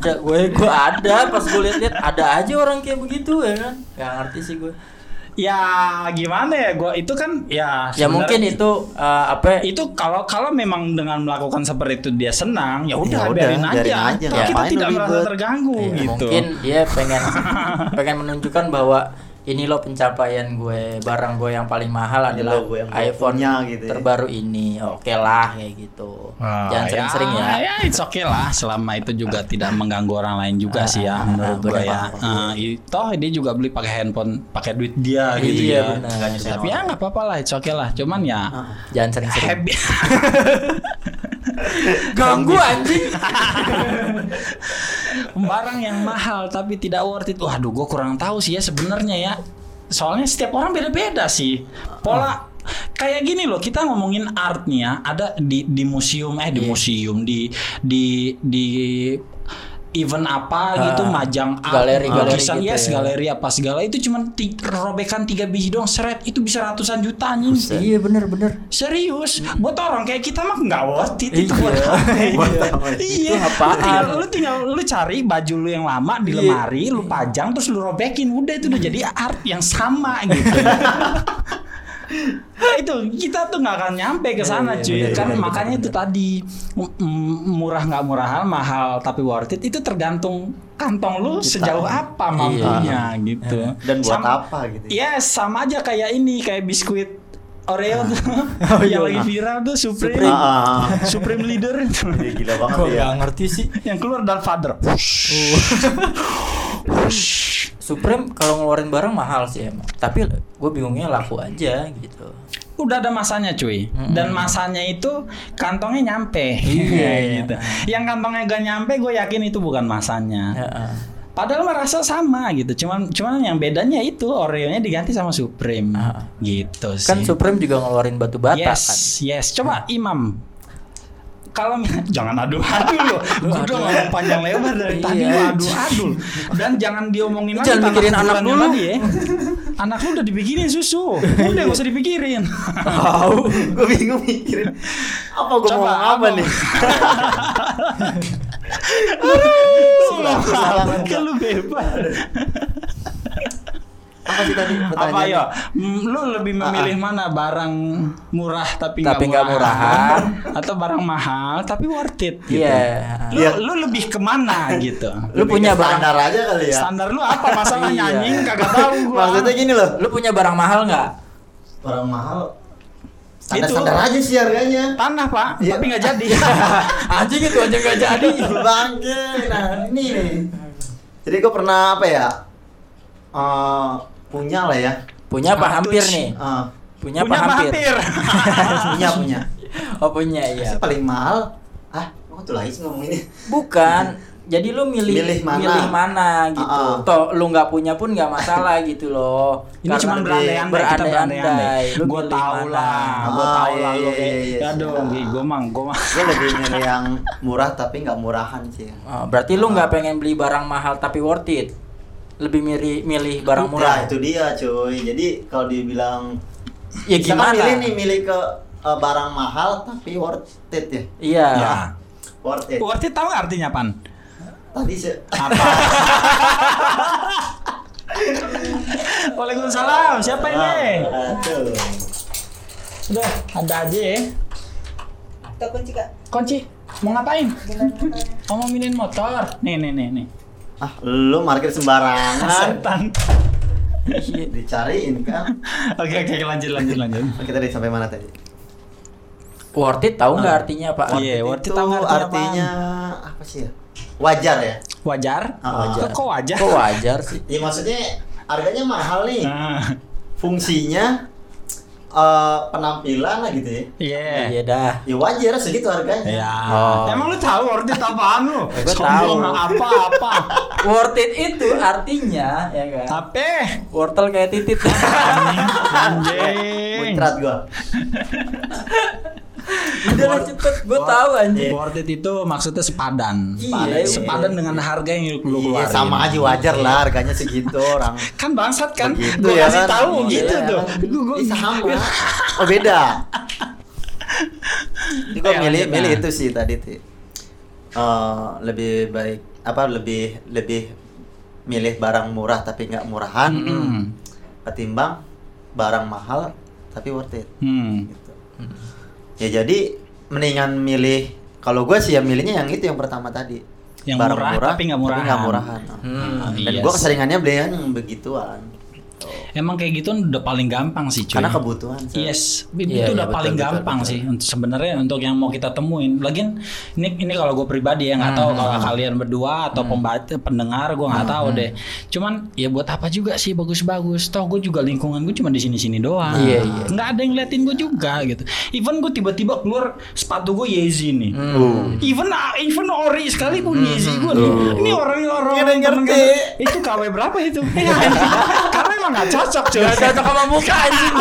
Speaker 2: ada gue gue ada pas gue lihat-lihat ada aja orang kayak begitu ya kan. Gak ngerti sih gue.
Speaker 1: ya gimana ya gue itu kan ya. sebenarnya-
Speaker 2: Ya mungkin itu eh, apa
Speaker 1: itu kalau kalau memang dengan melakukan seperti itu dia senang ya udah
Speaker 3: udah,
Speaker 1: biarin aja, Toh
Speaker 3: biarin aja,
Speaker 1: kita
Speaker 3: ngapain
Speaker 1: tidak
Speaker 3: lu
Speaker 1: merasa
Speaker 3: ribet?
Speaker 1: terganggu
Speaker 2: Ya,
Speaker 1: gitu
Speaker 2: Mungkin dia pengen pengen menunjukkan bahwa ini loh pencapaian gue, barang gue yang paling mahal
Speaker 3: Ini
Speaker 2: adalah
Speaker 3: loh gue yang gue
Speaker 2: iPhone
Speaker 3: punya gitu ya.
Speaker 2: terbaru ini. Oke lah kayak gitu.
Speaker 1: Ah,
Speaker 2: Jangan sering-sering ya.
Speaker 1: ya it's okay lah selama itu juga tidak mengganggu orang lain juga sih ya menurut
Speaker 2: Ah, bener
Speaker 1: gue ya Ah, i- toh dia juga beli pakai handphone pakai duit dia gitu
Speaker 2: Iya,
Speaker 1: ya
Speaker 2: benar.
Speaker 3: Nggak nyusahin
Speaker 1: tapi ya nggak apa-apa lah it's okay lah cuman ya
Speaker 2: Jangan sering-sering.
Speaker 1: happy
Speaker 2: Ganggu anjing.
Speaker 1: barang yang mahal tapi tidak worth it waduh gue kurang tahu sih ya sebenarnya ya soalnya setiap orang beda-beda sih pola kayak gini loh kita ngomongin art nih ya ada di di museum eh di
Speaker 2: Iya.
Speaker 1: museum di di di event apa gitu
Speaker 2: Ah,
Speaker 1: majang art
Speaker 2: galeri- galeri
Speaker 1: lukisan,
Speaker 2: gitu
Speaker 1: yes,
Speaker 2: ya.
Speaker 1: galeri apa segala itu cuman ti- robekan tiga biji doang seret itu bisa ratusan juta anjing
Speaker 2: Iya bener-bener.
Speaker 1: serius buat orang kayak kita mah nggak worth it itu buat ya?
Speaker 2: Iya.
Speaker 1: Iya,
Speaker 2: Itu
Speaker 1: Lu
Speaker 2: apaan?
Speaker 1: tinggal, lu tinggal lu cari baju lu yang lama di
Speaker 2: Iya.
Speaker 1: lemari, lu pajang terus lu robekin, udah itu udah jadi art yang sama gitu. itu kita tuh nggak akan nyampe ke sana
Speaker 2: Iya, iya,
Speaker 1: cuy
Speaker 2: bener,
Speaker 1: kan
Speaker 2: bener,
Speaker 1: makanya
Speaker 2: bener,
Speaker 1: itu tadi m- m- murah nggak murahan mahal tapi worth it itu tergantung kantong lu sejauh apa
Speaker 2: Iya.
Speaker 1: mampunya gitu
Speaker 3: dan buat
Speaker 1: Sama-
Speaker 3: apa gitu
Speaker 1: Iya sama aja kayak ini kayak biskuit Oreo tuh yang lagi viral tuh Supreme
Speaker 3: Ah, ah, ah.
Speaker 1: Supreme Leader itu.
Speaker 3: Iya, gila banget
Speaker 2: Gue
Speaker 3: ya
Speaker 2: gak ngerti sih.
Speaker 1: yang keluar dan father
Speaker 2: Supreme kalau ngeluarin barang mahal sih emang. Tapi gue bingungnya laku aja gitu.
Speaker 1: udah ada masanya cuy dan masanya itu kantongnya nyampe
Speaker 2: Iya.
Speaker 1: gitu yang kantongnya gak nyampe gue yakin itu bukan masanya
Speaker 2: Heeh.
Speaker 1: padahal merasa sama gitu cuman cuman yang bedanya itu Oreo-nya diganti sama Supreme
Speaker 2: Ah.
Speaker 1: gitu sih
Speaker 2: Kan Supreme juga ngeluarin batu bata
Speaker 1: yes
Speaker 2: kan.
Speaker 1: yes coba Imam kalau jangan adu adu loh, gue udah ngomong panjang lebar dari tadi
Speaker 2: Iya.
Speaker 1: lo adu adu dan jangan diomongin lagi
Speaker 2: Jangan
Speaker 1: tanah
Speaker 2: mikirin anak
Speaker 1: kuburannya
Speaker 2: dulu.
Speaker 1: tadi ya. Anak lu udah dibikinin susu, udah gak usah dipikirin.
Speaker 3: tahu gue bingung mikirin apa gue mau
Speaker 1: Coba,
Speaker 3: ngomong apa
Speaker 1: apa?
Speaker 3: nih Salah, salah,
Speaker 1: Lu
Speaker 3: salah.
Speaker 1: Kan lu bebas.
Speaker 3: apa sih tadi
Speaker 1: Apa
Speaker 3: pertanyaannya
Speaker 1: ya? Mm, Lu lebih memilih mana barang murah tapi nggak
Speaker 2: Ah, Tapi nggak murahan.
Speaker 1: atau barang mahal tapi worth it gitu.
Speaker 2: Iya.
Speaker 1: Lu,
Speaker 3: Iya.
Speaker 1: lu lebih kemana gitu?
Speaker 2: Lu
Speaker 3: Lebih
Speaker 2: punya
Speaker 3: ke
Speaker 2: barang-
Speaker 3: standar aja kali ya
Speaker 1: Standar lu apa masalahnya
Speaker 2: Iya.
Speaker 1: anjing kagak tahu gua.
Speaker 3: maksudnya gini loh
Speaker 2: Lu punya barang mahal nggak?
Speaker 3: barang mahal
Speaker 1: Itu.
Speaker 3: standar-standar aja sih harganya
Speaker 1: tanah, Pak,
Speaker 3: Iya.
Speaker 1: tapi nggak jadi.
Speaker 2: Anjing itu aja nggak jadi.
Speaker 3: bangke nah ini nih jadi gue pernah apa ya Eh, punya lah ya
Speaker 2: Punya apa hampir
Speaker 1: Status.
Speaker 2: nih?
Speaker 3: Eh,
Speaker 2: Punya, apa hampir?
Speaker 3: punya punya
Speaker 2: Oh punya ya.
Speaker 3: Yang paling mahal ah kok tuh lagi sih ngomonginnya
Speaker 2: Bukan. Jadi lu milih
Speaker 3: Milih mana?
Speaker 2: mana gitu.
Speaker 3: Ah, ah.
Speaker 2: Toh lu nggak punya pun nggak masalah gitu loh.
Speaker 1: Ini
Speaker 2: Karena
Speaker 1: cuma
Speaker 2: lu
Speaker 1: berandai-andai, kita berandai-andai.
Speaker 2: Lu
Speaker 1: Gue
Speaker 2: milih
Speaker 1: tau
Speaker 2: mana? Oh,
Speaker 1: lah, gue
Speaker 3: Ah,
Speaker 1: tau
Speaker 3: iya,
Speaker 1: lah lu
Speaker 3: iya,
Speaker 1: kayak,
Speaker 3: iya,
Speaker 1: ya
Speaker 3: iya.
Speaker 1: dong, gue mah, gue mah.
Speaker 3: gue lebih milih yang murah tapi nggak murahan sih ya.
Speaker 2: Oh, berarti lu nggak pengen beli barang mahal tapi worth it. Lebih milih milih barang
Speaker 3: Nah,
Speaker 2: murah.
Speaker 3: itu dia cuy jadi kalau dibilang
Speaker 2: Ya
Speaker 3: kita kan
Speaker 2: gimana?
Speaker 3: milih nih milih ke eh, barang mahal tapi worth it ya
Speaker 2: Iya.
Speaker 1: Ya.
Speaker 3: worth it
Speaker 1: Worth it tau nggak artinya pan?
Speaker 3: tadi sih
Speaker 1: Waalaikumsalam, siapa
Speaker 3: Ah.
Speaker 1: ini?
Speaker 3: Aduh.
Speaker 1: Udah, ada aja ya.
Speaker 4: Kita kunci kak.
Speaker 1: Kunci, mau ngapain? Mau minin motor. Nih, nih, nih, nih.
Speaker 3: ah lu market sembarangan
Speaker 1: Setan.
Speaker 3: dicariin kan
Speaker 1: Oke, oke, lanjut, lanjut, lanjut.
Speaker 3: kita dari sampai mana tadi
Speaker 2: Worth it tahu nggak artinya Pak?
Speaker 1: Iya. worth it tahu
Speaker 3: Itu
Speaker 1: artinya
Speaker 3: artinya apa sih ya wajar ya
Speaker 1: Wajar?
Speaker 3: Ah,
Speaker 1: Kok,
Speaker 3: wajar.
Speaker 1: kok wajar?
Speaker 2: Kok wajar sih?
Speaker 3: ya maksudnya harganya mahal nih
Speaker 1: Nah,
Speaker 3: fungsinya eh, penampilan lah gitu ya
Speaker 1: Iya.
Speaker 2: Iya dah.
Speaker 3: ya wajar segitu harganya
Speaker 1: Iya.
Speaker 2: Oh.
Speaker 1: Emang lu tahu worth it apaan lu?
Speaker 2: gua
Speaker 1: Sombong
Speaker 2: tahu.
Speaker 1: apa-apa.
Speaker 2: Worth it itu artinya ya kan.
Speaker 1: Tapi
Speaker 2: Wortel kayak titit. kan?
Speaker 1: anjing.
Speaker 3: muncrat gua
Speaker 2: Udah lah cepet, gue tahu anjing.
Speaker 1: Worth it itu maksudnya sepadan.
Speaker 2: Iya, iya.
Speaker 1: sepadan dengan harga yang lu
Speaker 3: Iya
Speaker 1: keluarin.
Speaker 3: sama aja wajar lah harganya segitu orang.
Speaker 1: Kan bangsat kan?
Speaker 3: Begitu
Speaker 1: Gue
Speaker 3: ya
Speaker 1: kasih
Speaker 3: kan?
Speaker 1: tahu
Speaker 3: Iya,
Speaker 1: gitu
Speaker 3: iya.
Speaker 1: tuh. Gue gue
Speaker 3: Ih, sama. Oh beda. Jadi gue
Speaker 1: Ayo,
Speaker 3: milih
Speaker 1: lanjut,
Speaker 3: milih
Speaker 1: nah.
Speaker 3: itu sih tadi tuh. Eh, lebih baik apa lebih lebih milih barang murah tapi nggak murahan
Speaker 1: Mm-mm.
Speaker 3: ketimbang barang mahal tapi worth it.
Speaker 1: Hmm.
Speaker 3: Gitu. Ya jadi mendingan milih kalau gue sih ya milihnya yang itu yang pertama tadi.
Speaker 1: Yang murah, tapi nggak murahan.
Speaker 3: murahan.
Speaker 2: Hmm.
Speaker 3: Dan
Speaker 1: Iya
Speaker 3: gue
Speaker 1: sih.
Speaker 3: keseringannya beli yang begituan.
Speaker 1: Emang kayak gitu udah paling gampang sih cuy.
Speaker 3: Karena kebutuhan. Sel.
Speaker 1: Yes, itu
Speaker 2: Iya, iya,
Speaker 1: udah
Speaker 2: betul,
Speaker 1: paling
Speaker 2: betul,
Speaker 1: gampang
Speaker 2: betul.
Speaker 1: sih untuk- sebenarnya untuk yang mau kita temuin. Lagian ini ini kalau gue pribadi ya nggak
Speaker 2: Hmm,
Speaker 1: tahu kalau kalian berdua atau pembaca pendengar gue nggak tahu
Speaker 2: hmm.
Speaker 1: deh. Cuman ya buat apa juga sih bagus-bagus. Toh gue juga lingkungan gue cuma di sini-sini doang.
Speaker 2: Iya, iya.
Speaker 1: Nggak ada yang ngeliatin gue juga gitu. Even gue tiba-tiba keluar sepatu gue Yeezy nih.
Speaker 2: Hmm.
Speaker 1: Oh. Even ah, even ori sekali pun Yeezy gue nih.
Speaker 2: Oh.
Speaker 1: Ini orang-orang
Speaker 3: Nggak ada yang
Speaker 1: temen
Speaker 3: ngerti.
Speaker 1: gue, Itu KW berapa itu? Iya, anjing. Karena emang nggak cocok cuy.
Speaker 2: Gak cocok sama muka anjing.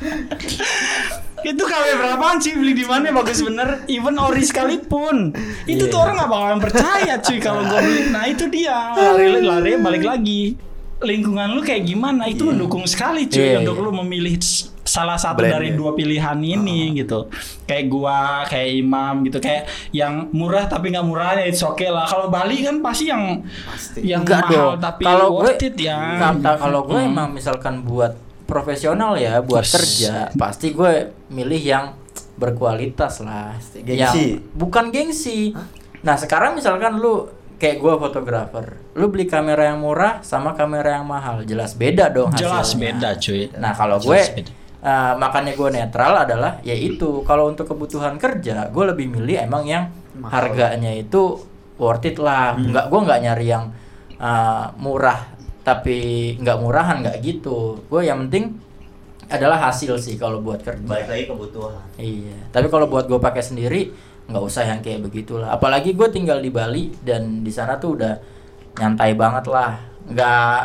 Speaker 1: itu KW berapaan sih beli di mana bagus bener even ori sekalipun itu
Speaker 2: Iya.
Speaker 1: tuh orang nggak bakalan percaya cuy kalau gue beli nah itu dia lari lari balik lagi lingkungan lu kayak gimana itu mendukung sekali cuy
Speaker 2: Iya,
Speaker 1: untuk
Speaker 2: iya.
Speaker 1: lu memilih s- salah satu
Speaker 3: Brand
Speaker 1: dari
Speaker 3: ya.
Speaker 1: dua pilihan
Speaker 2: Ah.
Speaker 1: ini gitu kayak gua kayak imam gitu kayak yang murah tapi nggak murah ya it's okay lah kalau Bali kan pasti yang
Speaker 3: Pasti.
Speaker 1: yang
Speaker 2: Enggak
Speaker 1: mahal
Speaker 2: dong.
Speaker 1: tapi
Speaker 2: kalau gue
Speaker 1: worth it ya
Speaker 2: kata kalau gue
Speaker 1: Hmm.
Speaker 2: emang misalkan buat profesional ya buat
Speaker 1: Yes.
Speaker 2: kerja pasti gue milih yang berkualitas lah
Speaker 3: Gengsi.
Speaker 2: Yang- bukan gengsi nah sekarang misalkan lu kayak gue fotografer lu beli kamera yang murah sama kamera yang mahal jelas beda dong
Speaker 1: jelas
Speaker 2: hasilnya.
Speaker 1: beda cuy
Speaker 2: Nah kalau gue
Speaker 1: Jelas beda.
Speaker 2: eh, makanya gue netral adalah yaitu kalau untuk kebutuhan kerja gue lebih milih emang yang
Speaker 3: Mahal.
Speaker 2: harganya itu worth it lah. Nggak gue nggak nyari yang eh, murah tapi nggak murahan nggak gitu. Gue yang penting adalah hasil sih kalau buat kerja.
Speaker 3: Balik lagi kebutuhan.
Speaker 2: Iya. Tapi kalau buat gue pakai sendiri nggak usah yang kayak begitulah. Apalagi gue tinggal di Bali dan di sana tuh udah nyantai banget lah. Nggak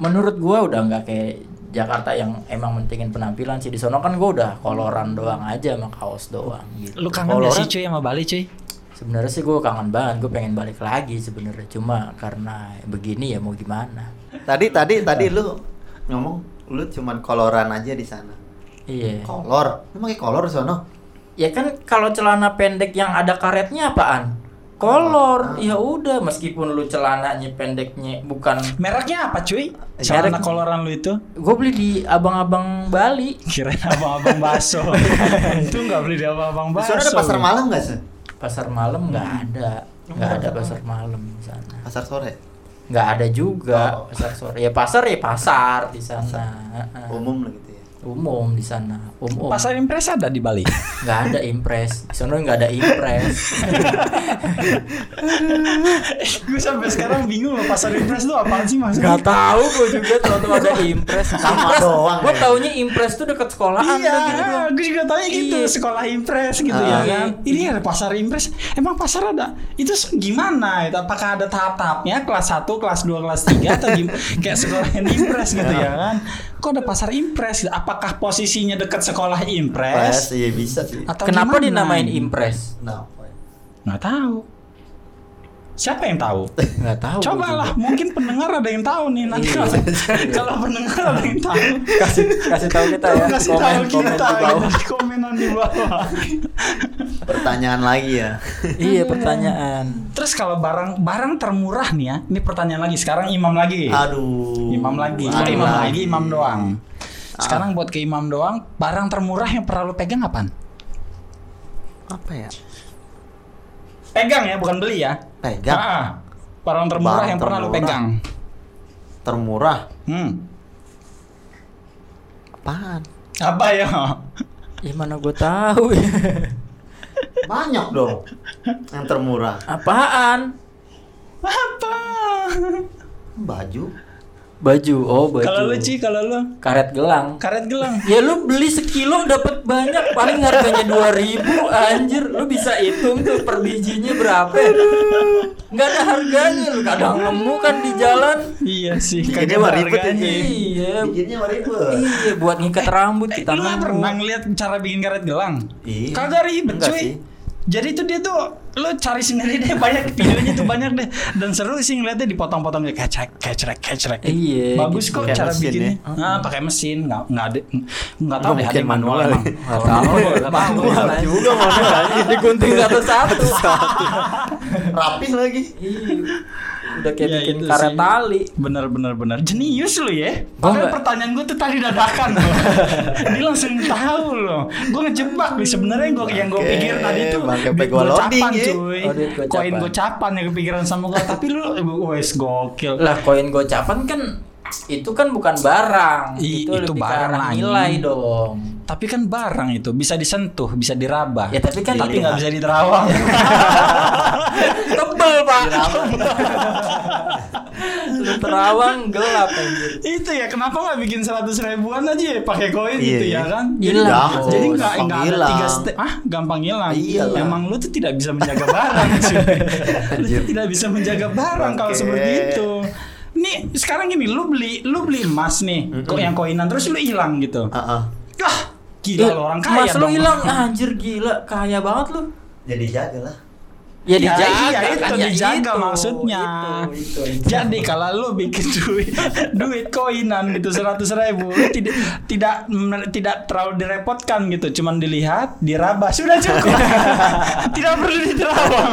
Speaker 2: menurut gue udah nggak kayak Jakarta yang emang mentingin penampilan sih di sono kan gue udah koloran doang aja sama kaos doang gitu.
Speaker 1: lu kangen
Speaker 2: Kalau
Speaker 1: gak sih
Speaker 2: orang-
Speaker 1: cuy sama Bali cuy
Speaker 2: Sebenarnya sih gue kangen banget, gue pengen balik lagi sebenarnya cuma karena begini ya mau gimana.
Speaker 3: Tadi tadi tadi lu ngomong lu cuman koloran aja di sana.
Speaker 2: Iya.
Speaker 3: Kolor. Lu pakai kolor di sono.
Speaker 2: Ya kan kalau celana pendek yang ada karetnya apaan? Kolor. Ya udah meskipun lu celananya pendeknya bukan
Speaker 1: Mereknya apa cuy? Celana
Speaker 2: Merek-
Speaker 1: koloran lu itu?
Speaker 2: gue beli di abang-abang Bali.
Speaker 1: Kirain abang-abang baso Itu nggak beli di abang-abang
Speaker 3: Di
Speaker 1: baso
Speaker 3: sono ada pasar malam enggak sih?
Speaker 2: Pasar malam nggak ada. Nggak ada pasar malam di sana.
Speaker 3: Pasar sore.
Speaker 2: Nggak ada juga
Speaker 3: Oh.
Speaker 2: pasar sore. Ya pasar ya pasar di sana. Heeh.
Speaker 3: Umum lah gitu ya.
Speaker 2: Umum di sana.
Speaker 1: Oh.
Speaker 2: Umum.
Speaker 1: Pasar impres ada di Bali
Speaker 2: nggak ada impres. Di sana nggak ada impres.
Speaker 1: Gue sampai sekarang bingung loh pasar impres itu apaan sih mas?
Speaker 2: Gak tahu gue juga tahu ada impres.
Speaker 3: Sama doang.
Speaker 2: Gue
Speaker 3: ya.
Speaker 2: taunya impres tuh deket sekolahan.
Speaker 1: Iya,
Speaker 2: udah gitu doang.
Speaker 1: gue juga tanya gitu
Speaker 2: Iya.
Speaker 1: sekolah impres gitu
Speaker 3: Ah.
Speaker 1: ya kan. Ini ada pasar impres, emang pasar ada? Itu se- gimana? Itu apakah ada tahap-tahapnya kelas 1, kelas 2, kelas 3 atau gim- kayak sekolah yang impres gitu
Speaker 3: Ah.
Speaker 1: ya kan? Kok ada pasar impres? Apakah posisinya dekat sekolah
Speaker 3: Pas,
Speaker 1: impres?
Speaker 3: iya bisa sih.
Speaker 1: Atau
Speaker 2: Kenapa
Speaker 1: gimana?
Speaker 2: dinamain impres?
Speaker 3: Nah,
Speaker 1: Nggak tahu. Siapa yang tahu?
Speaker 2: Nggak tahu.
Speaker 1: Oh,
Speaker 2: gua juga.
Speaker 1: Cobalah, mungkin pendengar ada yang tahu nih nanti kalau, kalau pendengar ada yang tahu.
Speaker 2: kasih kasih tahu kita ya.
Speaker 1: kasih
Speaker 2: komen
Speaker 1: tahu
Speaker 2: komen
Speaker 1: kita
Speaker 2: di bawah.
Speaker 1: gitu, di komenan di bawah.
Speaker 3: pertanyaan lagi ya.
Speaker 2: iya pertanyaan.
Speaker 1: Terus kalau barang barang termurah nih ya, ini pertanyaan lagi sekarang imam lagi. Iya.
Speaker 3: Aduh.
Speaker 1: Imam lagi,
Speaker 3: Aduh,
Speaker 1: imam lagi, imam doang. Sekarang buat ke imam doang, barang termurah yang pernah lu pegang apaan?
Speaker 3: Apa ya?
Speaker 1: Pegang ya, bukan beli ya.
Speaker 3: Pegang
Speaker 1: Ah, barang termurah
Speaker 3: Barang
Speaker 1: yang pernah lu
Speaker 3: termurah.
Speaker 1: pegang.
Speaker 3: termurah
Speaker 1: Hmm.
Speaker 3: apaan?
Speaker 1: Apa ya?
Speaker 2: Ya mana gue tahu ya.
Speaker 3: Banyak dong. Yang termurah.
Speaker 2: Apaan?
Speaker 1: Apa?
Speaker 3: Baju.
Speaker 2: Baju. Oh, baju.
Speaker 1: Kalau lu Ci, kalau lu
Speaker 2: karet gelang.
Speaker 1: karet gelang.
Speaker 2: Ya lu beli sekilo dapat banyak paling harganya 2000 anjir. Lu bisa hitung tuh per bijinya berapa. ya? nggak ada harganya lu kadang nemu kan di jalan
Speaker 1: Iya sih.
Speaker 3: Bikinnya
Speaker 1: kagak
Speaker 3: mah ribet
Speaker 1: harganya.
Speaker 3: ini.
Speaker 2: iya
Speaker 3: Bikinnya ribet.
Speaker 2: iya buat ngikat rambut kita
Speaker 1: Lu
Speaker 2: nemu.
Speaker 1: pernah ngeliat cara bikin karet gelang?
Speaker 3: Iya.
Speaker 1: Kagak ribet
Speaker 3: Enggak
Speaker 1: cuy.
Speaker 3: sih.
Speaker 1: Jadi itu dia tuh lu cari sendiri deh banyak videonya tuh banyak deh dan seru sih ngeliatnya dipotong-potong kayak kecrek kecrek kecrek.
Speaker 2: Iya,
Speaker 1: Bagus
Speaker 2: gitu.
Speaker 1: kok
Speaker 3: Pakai
Speaker 1: cara
Speaker 3: mesin
Speaker 1: bikinnya.
Speaker 3: ya?
Speaker 1: Nah, pakai mesin nggak nggak ada nggak tahu
Speaker 3: Nggak
Speaker 1: deh ada
Speaker 3: mungkin
Speaker 1: yang manual,
Speaker 3: manual.
Speaker 1: emang.
Speaker 2: Nggak tahu, nggak tahu.
Speaker 3: Manual juga manual.
Speaker 2: digunting satu-satu
Speaker 3: Rapih lagi.
Speaker 2: Iya. udah kayak
Speaker 1: Ya,
Speaker 2: bikin
Speaker 1: itu
Speaker 2: karet
Speaker 1: sih.
Speaker 2: tali
Speaker 1: Bener bener bener jenius lu ya. Padahal
Speaker 2: Gua nggak-
Speaker 1: pertanyaan gue tuh tadi dadakan. loh. Dia langsung tahu loh. Gue ngejebak nih sebenarnya yang gue yang gue
Speaker 3: Bangke,
Speaker 1: pikir tadi tuh
Speaker 3: bangke
Speaker 1: duit
Speaker 3: pegawai
Speaker 1: gocapan
Speaker 3: loading, ya.
Speaker 1: cuy.
Speaker 2: Oh, duit gocapan.
Speaker 1: Koin gocapan yang kepikiran sama gue. Tapi lu wes gokil.
Speaker 2: lah koin gocapan kan itu kan bukan barang
Speaker 1: I- itu
Speaker 2: lebih ke
Speaker 1: barang
Speaker 2: arah
Speaker 1: lagi.
Speaker 2: nilai dong
Speaker 1: Tapi kan barang itu bisa disentuh, bisa diraba.
Speaker 2: ya tapi kan
Speaker 1: tapi
Speaker 2: itu
Speaker 1: nggak bisa diterawang.
Speaker 2: tebel pak lu terawang gelap anjir
Speaker 1: itu ya kenapa nggak bikin seratus ribuan aja ya pakai koin
Speaker 3: Iya.
Speaker 1: gitu ya kan?
Speaker 2: Hilang.
Speaker 3: Jangan,
Speaker 1: Jadi
Speaker 3: Bos.
Speaker 1: nggak
Speaker 3: Gampang
Speaker 1: nggak ada tiga
Speaker 3: hilang. Iya
Speaker 1: step ah gampang hilang.
Speaker 3: Iyalah.
Speaker 1: Emang lu tuh tidak bisa menjaga barang cuy. Lu tuh tidak bisa menjaga barang kalau
Speaker 3: Oke.
Speaker 1: seperti itu. Nih sekarang gini lu beli lu beli emas nih kok yang koinan terus lu hilang gitu.
Speaker 3: Heeh.
Speaker 1: Ah gila lu orang kaya
Speaker 2: mas lu
Speaker 1: dong.
Speaker 2: hilang anjir gila kaya banget lu
Speaker 3: Jadi jagalah.
Speaker 1: Ya,
Speaker 2: ya,
Speaker 1: iya,
Speaker 2: dijaga kan,
Speaker 1: itu,
Speaker 2: ya
Speaker 1: dijaga
Speaker 2: itu,
Speaker 1: maksudnya.
Speaker 2: itu, itu, itu.
Speaker 1: Jadi kalau lu bikin duit duit koinan gitu seratus ribu lu tidak tidak men- tidak terlalu direpotkan gitu, cuman dilihat, diraba sudah cukup, tidak perlu diterawang.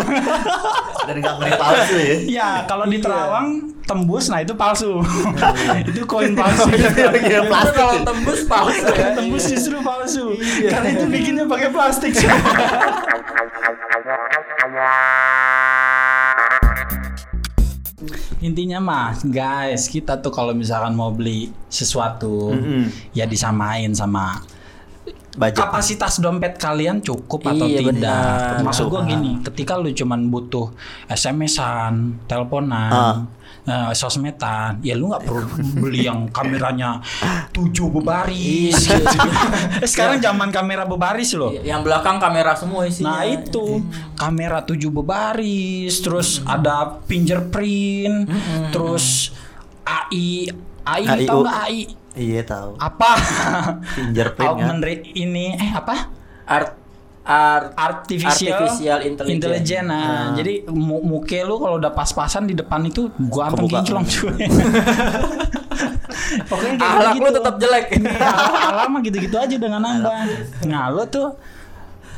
Speaker 3: Dan enggak ngeri palsu ya.
Speaker 1: ya kalau diterawang tembus, nah itu palsu, itu koin palsu.
Speaker 3: Kira-kira
Speaker 2: Justru
Speaker 3: palsu.
Speaker 2: kalau tembus palsu ya
Speaker 1: Iya, tembus justru palsu, karena itu bikinnya pakai plastik. Intinya mah guys kita tuh kalau misalkan mau beli sesuatu
Speaker 3: Mm-mm.
Speaker 1: ya disamain sama
Speaker 3: Budget.
Speaker 1: kapasitas dompet kalian cukup atau
Speaker 2: Iya,
Speaker 1: tidak.
Speaker 2: benar.
Speaker 1: Maksud gua
Speaker 2: Cukup.
Speaker 1: gini, ketika lu cuman butuh SMS-an, teleponan,
Speaker 3: Ah.
Speaker 1: eh, sosmedan, ya lu nggak perlu beli yang kameranya tujuh bebaris. gitu. Sekarang zaman kamera bebaris loh.
Speaker 2: yang belakang kamera semua isinya Iya.
Speaker 1: Nah itu kamera tujuh bebaris, terus ada fingerprint, terus AI, AI,
Speaker 3: AI.
Speaker 1: tau nggak AI?
Speaker 3: Iya tahu.
Speaker 1: Apa?
Speaker 3: Fingerprint kan.
Speaker 1: Augment re- ini eh apa?
Speaker 2: art art
Speaker 1: Artificial,
Speaker 2: Artificial intelligence.
Speaker 1: intelligence, Nah, jadi mu- muke lu kalau udah pas-pasan di depan itu gua anteng
Speaker 3: Kebuka.
Speaker 1: kinclong cuy. Pokoknya kayak
Speaker 2: ahlak lu
Speaker 1: gitu.
Speaker 2: tetap jelek
Speaker 1: Iya, alam mah gitu-gitu aja dengan nambah. Nah, lu tuh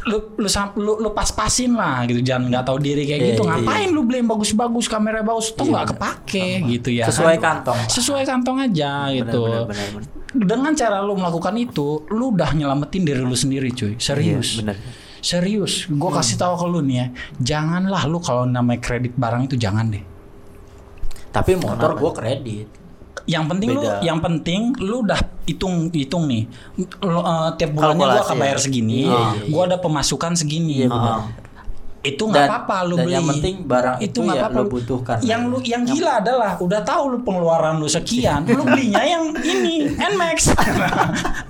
Speaker 1: lu lu sam- lu, lu pas-pasin lah gitu jangan nggak tahu diri kayak
Speaker 2: Iya,
Speaker 1: gitu
Speaker 2: iya,
Speaker 1: ngapain lu beli yang bagus-bagus kamera bagus tuh nggak kepake gitu ya
Speaker 2: sesuai
Speaker 1: kan?
Speaker 2: kantong
Speaker 1: Iya. sesuai kantong aja gitu
Speaker 3: benar, benar, benar.
Speaker 1: dengan cara lu melakukan itu lu udah nyelamatin diri lu sendiri cuy serius
Speaker 3: Iya, benar. Hmm.
Speaker 1: serius gue kasih tahu ke lu nih ya janganlah lu kalau namanya kredit barang itu jangan deh
Speaker 2: tapi motor gua kredit
Speaker 1: yang penting lu
Speaker 3: Beda.
Speaker 1: yang penting lu udah hitung hitung nih Lu, eh, tiap bulannya gua
Speaker 3: Kalkulasi
Speaker 1: akan
Speaker 3: ya?
Speaker 1: bayar segini
Speaker 2: Iya, iya,
Speaker 1: gua ada pemasukan segini
Speaker 3: benar.
Speaker 1: itu nggak
Speaker 2: Dan-
Speaker 1: apa-apa lu
Speaker 2: dan
Speaker 1: beli
Speaker 2: yang penting barang itu
Speaker 1: nggak
Speaker 2: ya
Speaker 1: apa-apa
Speaker 2: lu butuhkan.
Speaker 1: yang lu yang gila adalah udah tahu lu pengeluaran lu sekian lu belinya yang ini Nmax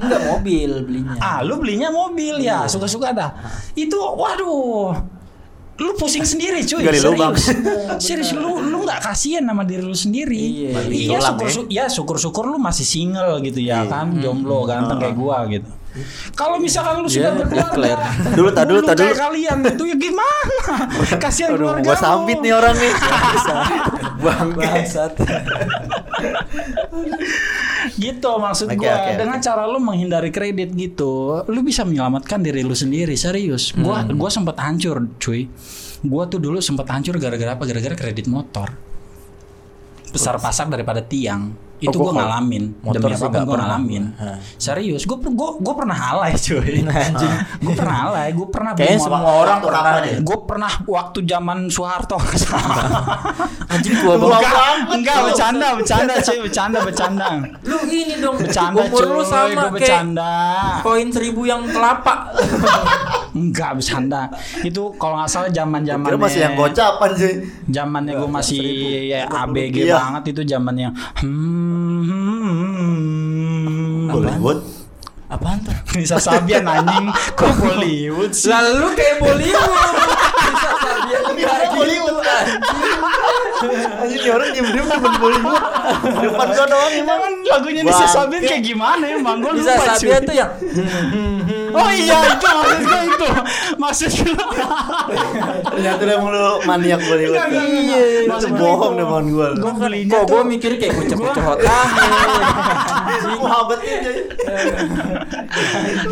Speaker 2: enggak mobil belinya
Speaker 1: ah lu belinya mobil ya suka-suka dah itu waduh lu pusing sendiri cuy
Speaker 3: Gali
Speaker 1: serius
Speaker 3: lubang.
Speaker 1: serius lu lu nggak kasihan sama diri lu sendiri iya,
Speaker 2: Iya.
Speaker 3: Bagi tulang,
Speaker 1: syukur syukur ya syukur syukur lu masih single gitu ya
Speaker 3: Iya. Ah.
Speaker 1: kan jomblo ganteng kayak gua gitu kalau misalkan lu sudah
Speaker 2: Iya,
Speaker 1: berkeluarga
Speaker 2: declare.
Speaker 3: Tar dulu, tar dulu,
Speaker 1: mulung
Speaker 3: tar dulu.
Speaker 1: kayak kalian itu ya gimana kasihan
Speaker 3: Aduh,
Speaker 1: keluarga
Speaker 3: gua
Speaker 1: lu.
Speaker 3: sambit nih orang nih. Bangke.
Speaker 2: bangsat
Speaker 1: gitu maksud
Speaker 3: Oke,
Speaker 1: gua
Speaker 3: oke,
Speaker 1: dengan cara lu menghindari kredit gitu lu bisa menyelamatkan diri lu sendiri serius gua
Speaker 2: Hmm.
Speaker 1: gua sempat hancur cuy gua tuh dulu sempat hancur gara-gara apa gara-gara kredit motor besar pasak daripada tiang itu gua
Speaker 2: Oh, gua kalau
Speaker 1: ngalamin
Speaker 2: motor
Speaker 1: demi
Speaker 2: sih
Speaker 1: apapun
Speaker 2: nggak
Speaker 1: gua
Speaker 2: pernah.
Speaker 1: ngalamin
Speaker 2: Hah.
Speaker 1: serius gua, per- gua gua pernah alay cuy anjing gua pernah alay gua pernah beli
Speaker 2: Kayaknya
Speaker 1: motor.
Speaker 2: semua orang
Speaker 3: Waktu
Speaker 2: pernah
Speaker 3: kapan
Speaker 2: deh.
Speaker 3: ya?
Speaker 1: Gue pernah waktu zaman Soeharto
Speaker 2: anjing gua
Speaker 1: Enggak,
Speaker 2: banget
Speaker 1: enggak, bercanda, bercanda, cuy, bercanda, bercanda
Speaker 2: lu ini dong
Speaker 1: Bercanda,
Speaker 2: umur lu
Speaker 1: cuy,
Speaker 2: sama
Speaker 1: gua
Speaker 2: kayak
Speaker 1: bercanda
Speaker 2: koin seribu yang kelapa
Speaker 1: Enggak bercanda. Itu kalau nggak salah zaman zamannya
Speaker 3: Kira masih yang gocapan sih.
Speaker 1: Zamannya gue masih ya, ABG
Speaker 3: Iya.
Speaker 1: banget itu zamannya. Hmm, hmm, hmm.
Speaker 3: Bollywood.
Speaker 2: apaan tuh
Speaker 1: Nisa Sabian anjing ke Bollywood sih.
Speaker 2: lalu kayak gitu, kan? Bollywood bisa sabian
Speaker 3: Bollywood.
Speaker 1: Kan
Speaker 2: anjing
Speaker 3: nih orang diem-diem cuma boleh gua. Depan gua doang emang.
Speaker 1: Emang lagunya
Speaker 3: Bang.
Speaker 1: bisa sabit kayak gimana emang gue
Speaker 2: bisa
Speaker 1: lupa
Speaker 2: Sabia
Speaker 1: cuy.
Speaker 2: tuh
Speaker 3: ya.
Speaker 2: yang
Speaker 1: Oh iya itu maksud gue itu maksud gue.
Speaker 3: Ternyata udah mulu maniak boleh gua.
Speaker 1: Enggak, enggak,
Speaker 3: Iya,
Speaker 1: enggak.
Speaker 3: lu
Speaker 1: Maksud
Speaker 3: tuh
Speaker 1: gua
Speaker 3: bohong
Speaker 1: itu.
Speaker 3: depan gua.
Speaker 1: Gua belinya
Speaker 2: kok gue
Speaker 1: tuh
Speaker 2: oh, mikir kayak gue cepet cehotan
Speaker 3: Muhabbetin jadi.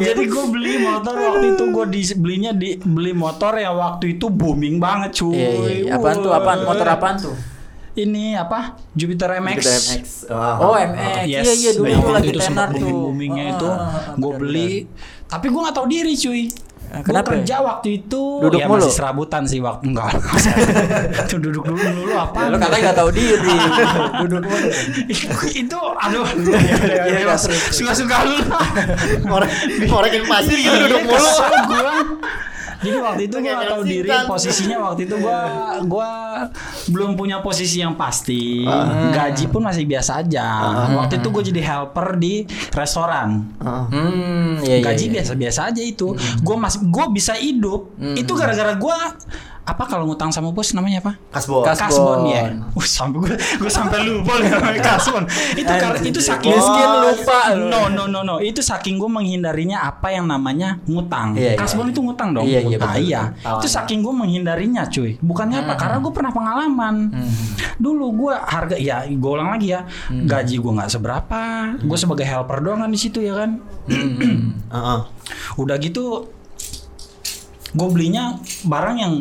Speaker 1: Jadi gue beli motor waktu itu gue di, belinya di beli motor yang waktu itu booming banget cuy.
Speaker 2: iya iya iya. apaan tuh apaan motor apaan tuh
Speaker 1: Ini apa Jupiter MX.
Speaker 3: Kita MX.
Speaker 2: oh
Speaker 1: eh.
Speaker 2: MX
Speaker 1: Ah. Yes.
Speaker 2: iya iya dulu
Speaker 1: Nah, itu-
Speaker 2: lagi
Speaker 1: itu
Speaker 2: tenar
Speaker 1: sempat
Speaker 2: tuh
Speaker 1: booming-boomingnya
Speaker 2: Ah,
Speaker 1: itu
Speaker 2: ah, ah,
Speaker 1: gue
Speaker 2: benar,
Speaker 1: beli tapi gue nggak tahu diri cuy
Speaker 2: Ah,
Speaker 1: Gue
Speaker 2: kenapa?
Speaker 1: kerja waktu itu
Speaker 2: Duduk
Speaker 1: ya
Speaker 2: mulu?
Speaker 1: masih serabutan sih waktu enggak. itu duduk dulu dulu apa?
Speaker 2: benar. ya, lu katanya nggak tahu diri duduk mulu.
Speaker 1: itu aduh
Speaker 2: Iya,
Speaker 1: ya, ya, ya, Mas. suka-suka lu.
Speaker 3: Orang orang yang pasir
Speaker 2: Iya,
Speaker 3: gitu duduk mulu.
Speaker 1: Kesel gua. Jadi waktu itu gue
Speaker 3: Kayak
Speaker 1: nggak tahu diri
Speaker 3: nyelsitan.
Speaker 1: posisinya waktu itu gue gua belum punya posisi yang pasti
Speaker 2: Ah.
Speaker 1: gaji pun masih biasa aja waktu itu gue jadi helper di restoran
Speaker 2: hmm iya iya
Speaker 1: gaji
Speaker 2: iya. Hmm.
Speaker 1: biasa-biasa aja itu. Gue masih gue bisa hidup. Itu gara-gara gue apa kalau ngutang sama bos namanya apa?
Speaker 3: Kasbon.
Speaker 2: Kas- Kasbon.
Speaker 1: ya. Uh, sampai gue gue sampai lupa nih namanya kasbon. Itu karena itu saking
Speaker 2: miskin lupa lu.
Speaker 1: No no no no. Itu saking gue menghindarinya apa yang namanya ngutang.
Speaker 2: Iya, iya,
Speaker 1: kasbon
Speaker 2: iya.
Speaker 1: itu ngutang dong.
Speaker 2: Iya, iya,
Speaker 1: Nah,
Speaker 2: betul,
Speaker 1: iya.
Speaker 2: betul. Hmm.
Speaker 1: Itu saking gue menghindarinya cuy. Bukannya apa? Karena gue pernah pengalaman. Dulu gue harga ya gue ulang lagi ya.
Speaker 2: Hmm.
Speaker 1: Gaji gue nggak seberapa. Gue sebagai helper doang kan di situ ya kan.
Speaker 2: Hmm,
Speaker 3: Heeh.
Speaker 1: Udah gitu gue belinya barang yang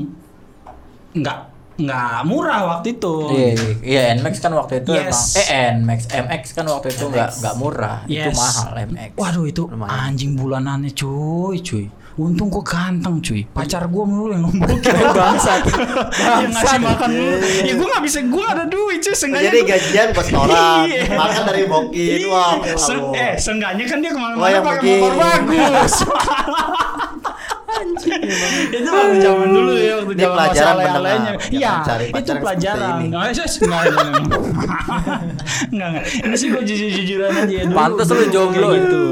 Speaker 1: nggak nggak murah waktu itu.
Speaker 2: Iya, iya, iya, NMAX kan waktu itu
Speaker 1: Oh, Yes.
Speaker 2: emang eh NMAX, MX kan waktu itu nggak nggak murah, itu
Speaker 1: Yes.
Speaker 2: mahal MX.
Speaker 1: Waduh itu anjing bulanannya cuy cuy. Untung gue ganteng cuy. Pacar gue mulu yang nombokin.
Speaker 2: bangsat,
Speaker 1: yang ngasih
Speaker 2: bangsat.
Speaker 1: makan mulu. Ya gue nggak bisa gue nggak ada duit cuy. Sengaja
Speaker 3: Iya, Jadi gajian ke restoran,
Speaker 1: Iya.
Speaker 3: makan dari bokin. Wah, ya
Speaker 1: eh seenggaknya kan dia
Speaker 3: Wah,
Speaker 1: kemana-mana
Speaker 3: yang
Speaker 1: pakai
Speaker 3: begini.
Speaker 1: motor bagus. itu waktu zaman dulu ya waktu
Speaker 3: Ini
Speaker 1: zaman
Speaker 3: pelajaran
Speaker 1: masalah yang
Speaker 3: menengah.
Speaker 1: lainnya.
Speaker 3: Jangan
Speaker 1: Iya,
Speaker 3: cari
Speaker 1: itu
Speaker 3: pacar yang
Speaker 1: pelajaran.
Speaker 3: seperti ini.
Speaker 1: Nggak, sus, nggak, nggak, nggak. Nggak, nggak. Ini sih gue jujur-jujuran aja ya, dulu.
Speaker 2: Pantes lu
Speaker 1: dulu
Speaker 2: jomblo.
Speaker 1: kayak gitu.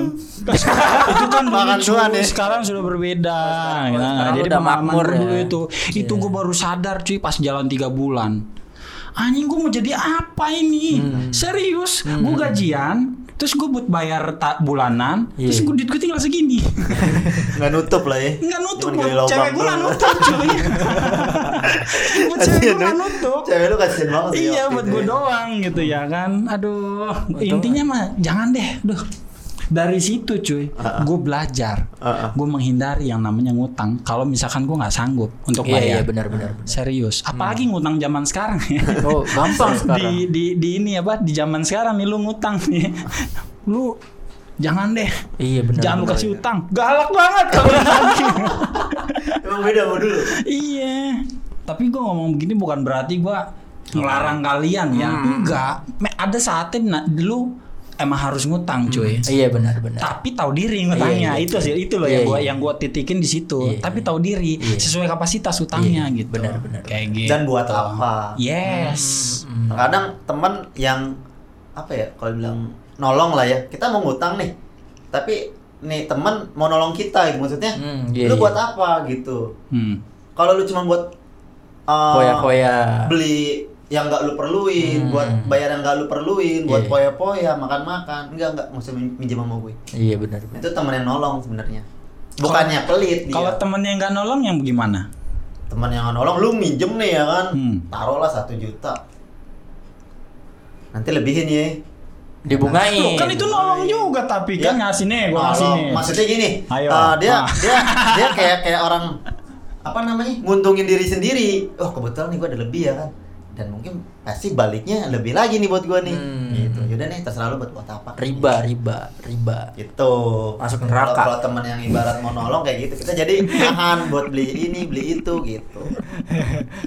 Speaker 1: itu kan dulu,
Speaker 3: Makan doang
Speaker 1: cuy.
Speaker 3: ya.
Speaker 1: sekarang sudah berbeda. Nah,
Speaker 2: sekarang
Speaker 1: jadi
Speaker 2: udah
Speaker 1: pengalaman
Speaker 2: makmur
Speaker 1: gua dulu
Speaker 2: ya.
Speaker 1: itu, itu gue baru sadar cuy pas jalan tiga bulan. Anjing gue mau jadi apa ini?
Speaker 2: Hmm.
Speaker 1: Serius, gue gajian, terus gue buat bayar tak bulanan, terus
Speaker 2: Iya.
Speaker 1: gue duit gue tinggal segini.
Speaker 3: Nggak nutup lah ya.
Speaker 1: Enggak nutup
Speaker 3: Cuman
Speaker 1: buat
Speaker 3: gali lubang
Speaker 1: cewek gue nggak
Speaker 3: doang.
Speaker 1: nutup cuy. buat cewek gue nggak nutup.
Speaker 3: Iya, ya. Cewek lu kasihan banget sih
Speaker 1: Iya
Speaker 3: waktu
Speaker 1: buat
Speaker 3: itu
Speaker 1: gue
Speaker 3: ya.
Speaker 1: doang gitu ya kan. Aduh, intinya mah jangan deh. Duh. Dari situ cuy, gue belajar,
Speaker 3: Uh-uh.
Speaker 1: gue menghindari yang namanya ngutang. Kalau misalkan gue nggak sanggup untuk
Speaker 2: Iya, iya
Speaker 1: bayar,
Speaker 2: benar-benar.
Speaker 1: serius. Apalagi ngutang zaman sekarang ya.
Speaker 2: Oh, gampang sekarang.
Speaker 1: di, di di ini apa di zaman sekarang nih lu ngutang nih, lu jangan deh,
Speaker 2: Iya benar.
Speaker 1: jangan lu kasih utang. Galak banget kalau ditagih.
Speaker 3: Emang beda sama dulu.
Speaker 1: Iya. Tapi gue ngomong begini bukan berarti gue ngelarang kalian ya. Enggak. Me- Ada saatnya nah, dulu emang harus ngutang cuy.
Speaker 2: Iya benar-benar.
Speaker 1: Tapi tahu diri ngutangnya
Speaker 2: Iya, iya.
Speaker 1: itu sih itu loh yang
Speaker 2: Iya,
Speaker 1: gue
Speaker 2: iya.
Speaker 1: yang gue titikin di situ.
Speaker 2: Iya,
Speaker 1: Tapi tahu diri sesuai kapasitas utangnya gitu.
Speaker 2: benar, benar,
Speaker 1: Kayak gitu.
Speaker 3: Dan buat apa?
Speaker 1: Yes.
Speaker 2: Hmm.
Speaker 3: Kadang teman yang apa ya kalau bilang nolong lah ya. Kita mau ngutang nih. Tapi nih teman mau nolong kita gitu. maksudnya.
Speaker 2: Hmm, iya,
Speaker 3: lu
Speaker 2: iya.
Speaker 3: buat apa gitu.
Speaker 1: Hmm.
Speaker 3: Kalau lu cuma buat uh,
Speaker 2: Koya-koya.
Speaker 3: beli yang nggak lu perluin,
Speaker 2: Hmm.
Speaker 3: buat bayar yang nggak lu perluin, buat
Speaker 2: Iya.
Speaker 3: poya-poya, makan-makan, enggak enggak usah min- minjem sama gue.
Speaker 2: Iya benar-benar.
Speaker 3: Itu temen yang nolong sebenarnya. Bukannya pelit dia.
Speaker 1: Kalau temennya nggak nolong yang gimana?
Speaker 3: teman yang nolong lu minjem nih ya kan
Speaker 1: Hmm.
Speaker 3: taruhlah satu juta nanti lebihin ya
Speaker 2: Dibungain.
Speaker 1: Loh, kan itu
Speaker 3: Iya.
Speaker 1: nolong juga tapi kan
Speaker 3: Ya.
Speaker 1: ngasih nih, gue
Speaker 3: Nolong.
Speaker 1: ngasih nih.
Speaker 3: maksudnya gini
Speaker 1: Ayo.
Speaker 3: eh, dia
Speaker 1: Ah.
Speaker 3: dia dia kayak kayak orang apa namanya nguntungin diri sendiri oh kebetulan nih gua ada lebih ya kan dan mungkin pasti baliknya lebih lagi nih buat gua nih
Speaker 2: Hmm.
Speaker 3: gitu yaudah nih terserah lu buat buat apa
Speaker 2: riba, riba, riba.
Speaker 3: gitu
Speaker 2: Masuk neraka.
Speaker 3: kalau, kalau teman yang ibarat mau nolong kayak gitu kita jadi nahan buat beli ini beli itu gitu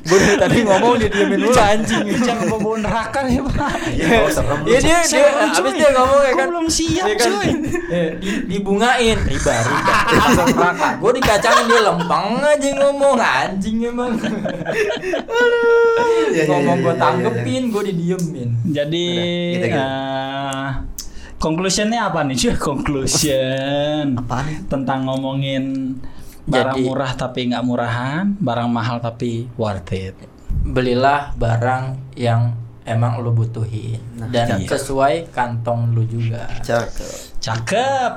Speaker 2: Gue tadi ngomong dia diemin mulu anjing.
Speaker 1: Lu Jangan bawa neraka ya pak.
Speaker 3: iya oh, serem lu.
Speaker 2: Iya dia dia
Speaker 1: Serem, cuy.
Speaker 2: abis dia ngomong ya
Speaker 1: Gua
Speaker 2: kan.
Speaker 1: belum siap,
Speaker 2: Dia kan,
Speaker 1: cuy.
Speaker 2: eh, di- dibungain riba riba. Masuk neraka. Gue dikacangin dia lempeng aja ngomong anjing emang.
Speaker 3: Iya, iya, iya,
Speaker 2: ngomong gue
Speaker 3: iya, iya,
Speaker 2: tanggepin, gue didiemin.
Speaker 1: Jadi
Speaker 3: Udah, gitu-gitu.
Speaker 1: eh, conclusionnya apa nih cuy? Conclusion
Speaker 3: Apaan?
Speaker 1: tentang ngomongin barang
Speaker 2: ya? Jadi-
Speaker 1: murah tapi nggak murahan, barang mahal tapi worth it.
Speaker 2: belilah barang yang emang lu butuhin
Speaker 3: Nah,
Speaker 2: dan
Speaker 1: iya.
Speaker 2: sesuai kantong lu juga.
Speaker 3: Cakep.
Speaker 1: Cakep.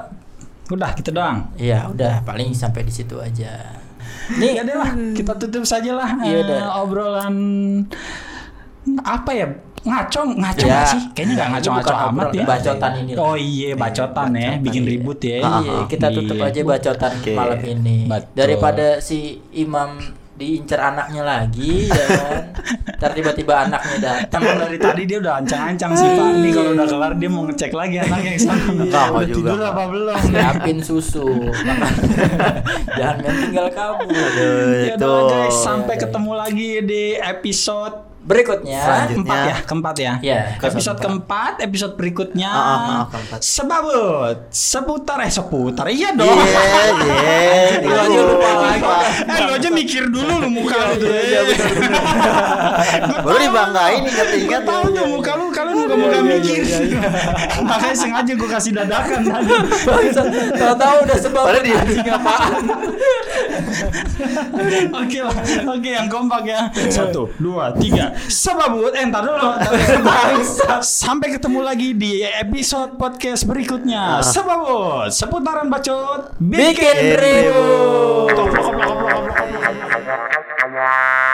Speaker 1: Udah gitu doang.
Speaker 2: Iya, udah paling sampai di situ aja.
Speaker 1: Ya
Speaker 2: Nih,
Speaker 1: deh lah, kita tutup saja lah
Speaker 2: Iya
Speaker 1: eh,
Speaker 2: deh.
Speaker 1: obrolan apa ya ngaco ngaco
Speaker 2: Ya.
Speaker 1: nggak sih kayaknya nggak
Speaker 2: Ini
Speaker 1: ngaco ngaco
Speaker 2: bukan
Speaker 1: amat
Speaker 2: obrolan,
Speaker 1: ya
Speaker 2: bacotan ini lah.
Speaker 1: oh iya bacotan ya
Speaker 2: Bacotan,
Speaker 1: bikin
Speaker 2: iya.
Speaker 1: ribut ya
Speaker 3: Ah,
Speaker 2: Iya, kita tutup
Speaker 1: Iya.
Speaker 2: aja bacotan
Speaker 3: Gitu. Oke.
Speaker 2: malam ini.
Speaker 1: Betul.
Speaker 2: Daripada si imam diincar anaknya lagi, ya kan? Ntar tiba-tiba anaknya datang
Speaker 1: Emang dari tadi dia udah ancang-ancang sih Pak Nih kalau udah kelar dia mau ngecek lagi anaknya yang sama
Speaker 3: Sama
Speaker 1: Udah
Speaker 3: juga.
Speaker 1: tidur apa belum
Speaker 2: siapin susu, Makanya, jangan main tinggal kabur.
Speaker 1: Ya
Speaker 3: Itu.
Speaker 1: udah guys Sampai ketemu lagi di episode
Speaker 2: Berikutnya,
Speaker 3: Selanjutnya.
Speaker 1: keempat ya Keempat ya
Speaker 2: ya
Speaker 1: Episode keempat Episode berikutnya
Speaker 3: Ah, ah, ah, keempat.
Speaker 1: Sebabut Seputar Eh seputar Iya dong
Speaker 3: Iya, iya. Iya,
Speaker 1: Lu aja lupa lagi
Speaker 3: Lupa.
Speaker 1: Eh lu aja mikir dulu lu muka lu tuh
Speaker 3: Baru dibanggain ya. ingat ingat.
Speaker 1: Gak tau tuh muka lu Kalian muka-muka
Speaker 3: Iya,
Speaker 1: mikir Makanya sengaja gue kasih dadakan tadi
Speaker 2: tahu udah sebab
Speaker 3: Padahal dia-
Speaker 2: anjing apaan.
Speaker 1: Oke lah, oke yang kompak ya. Satu, dua, tiga. Sebabut, eh ntar dulu. Sampai ketemu lagi di episode podcast berikutnya. Sebabut, seputaran bacot.
Speaker 2: Bikin
Speaker 3: ribut.
Speaker 2: ribut.
Speaker 1: Bikin.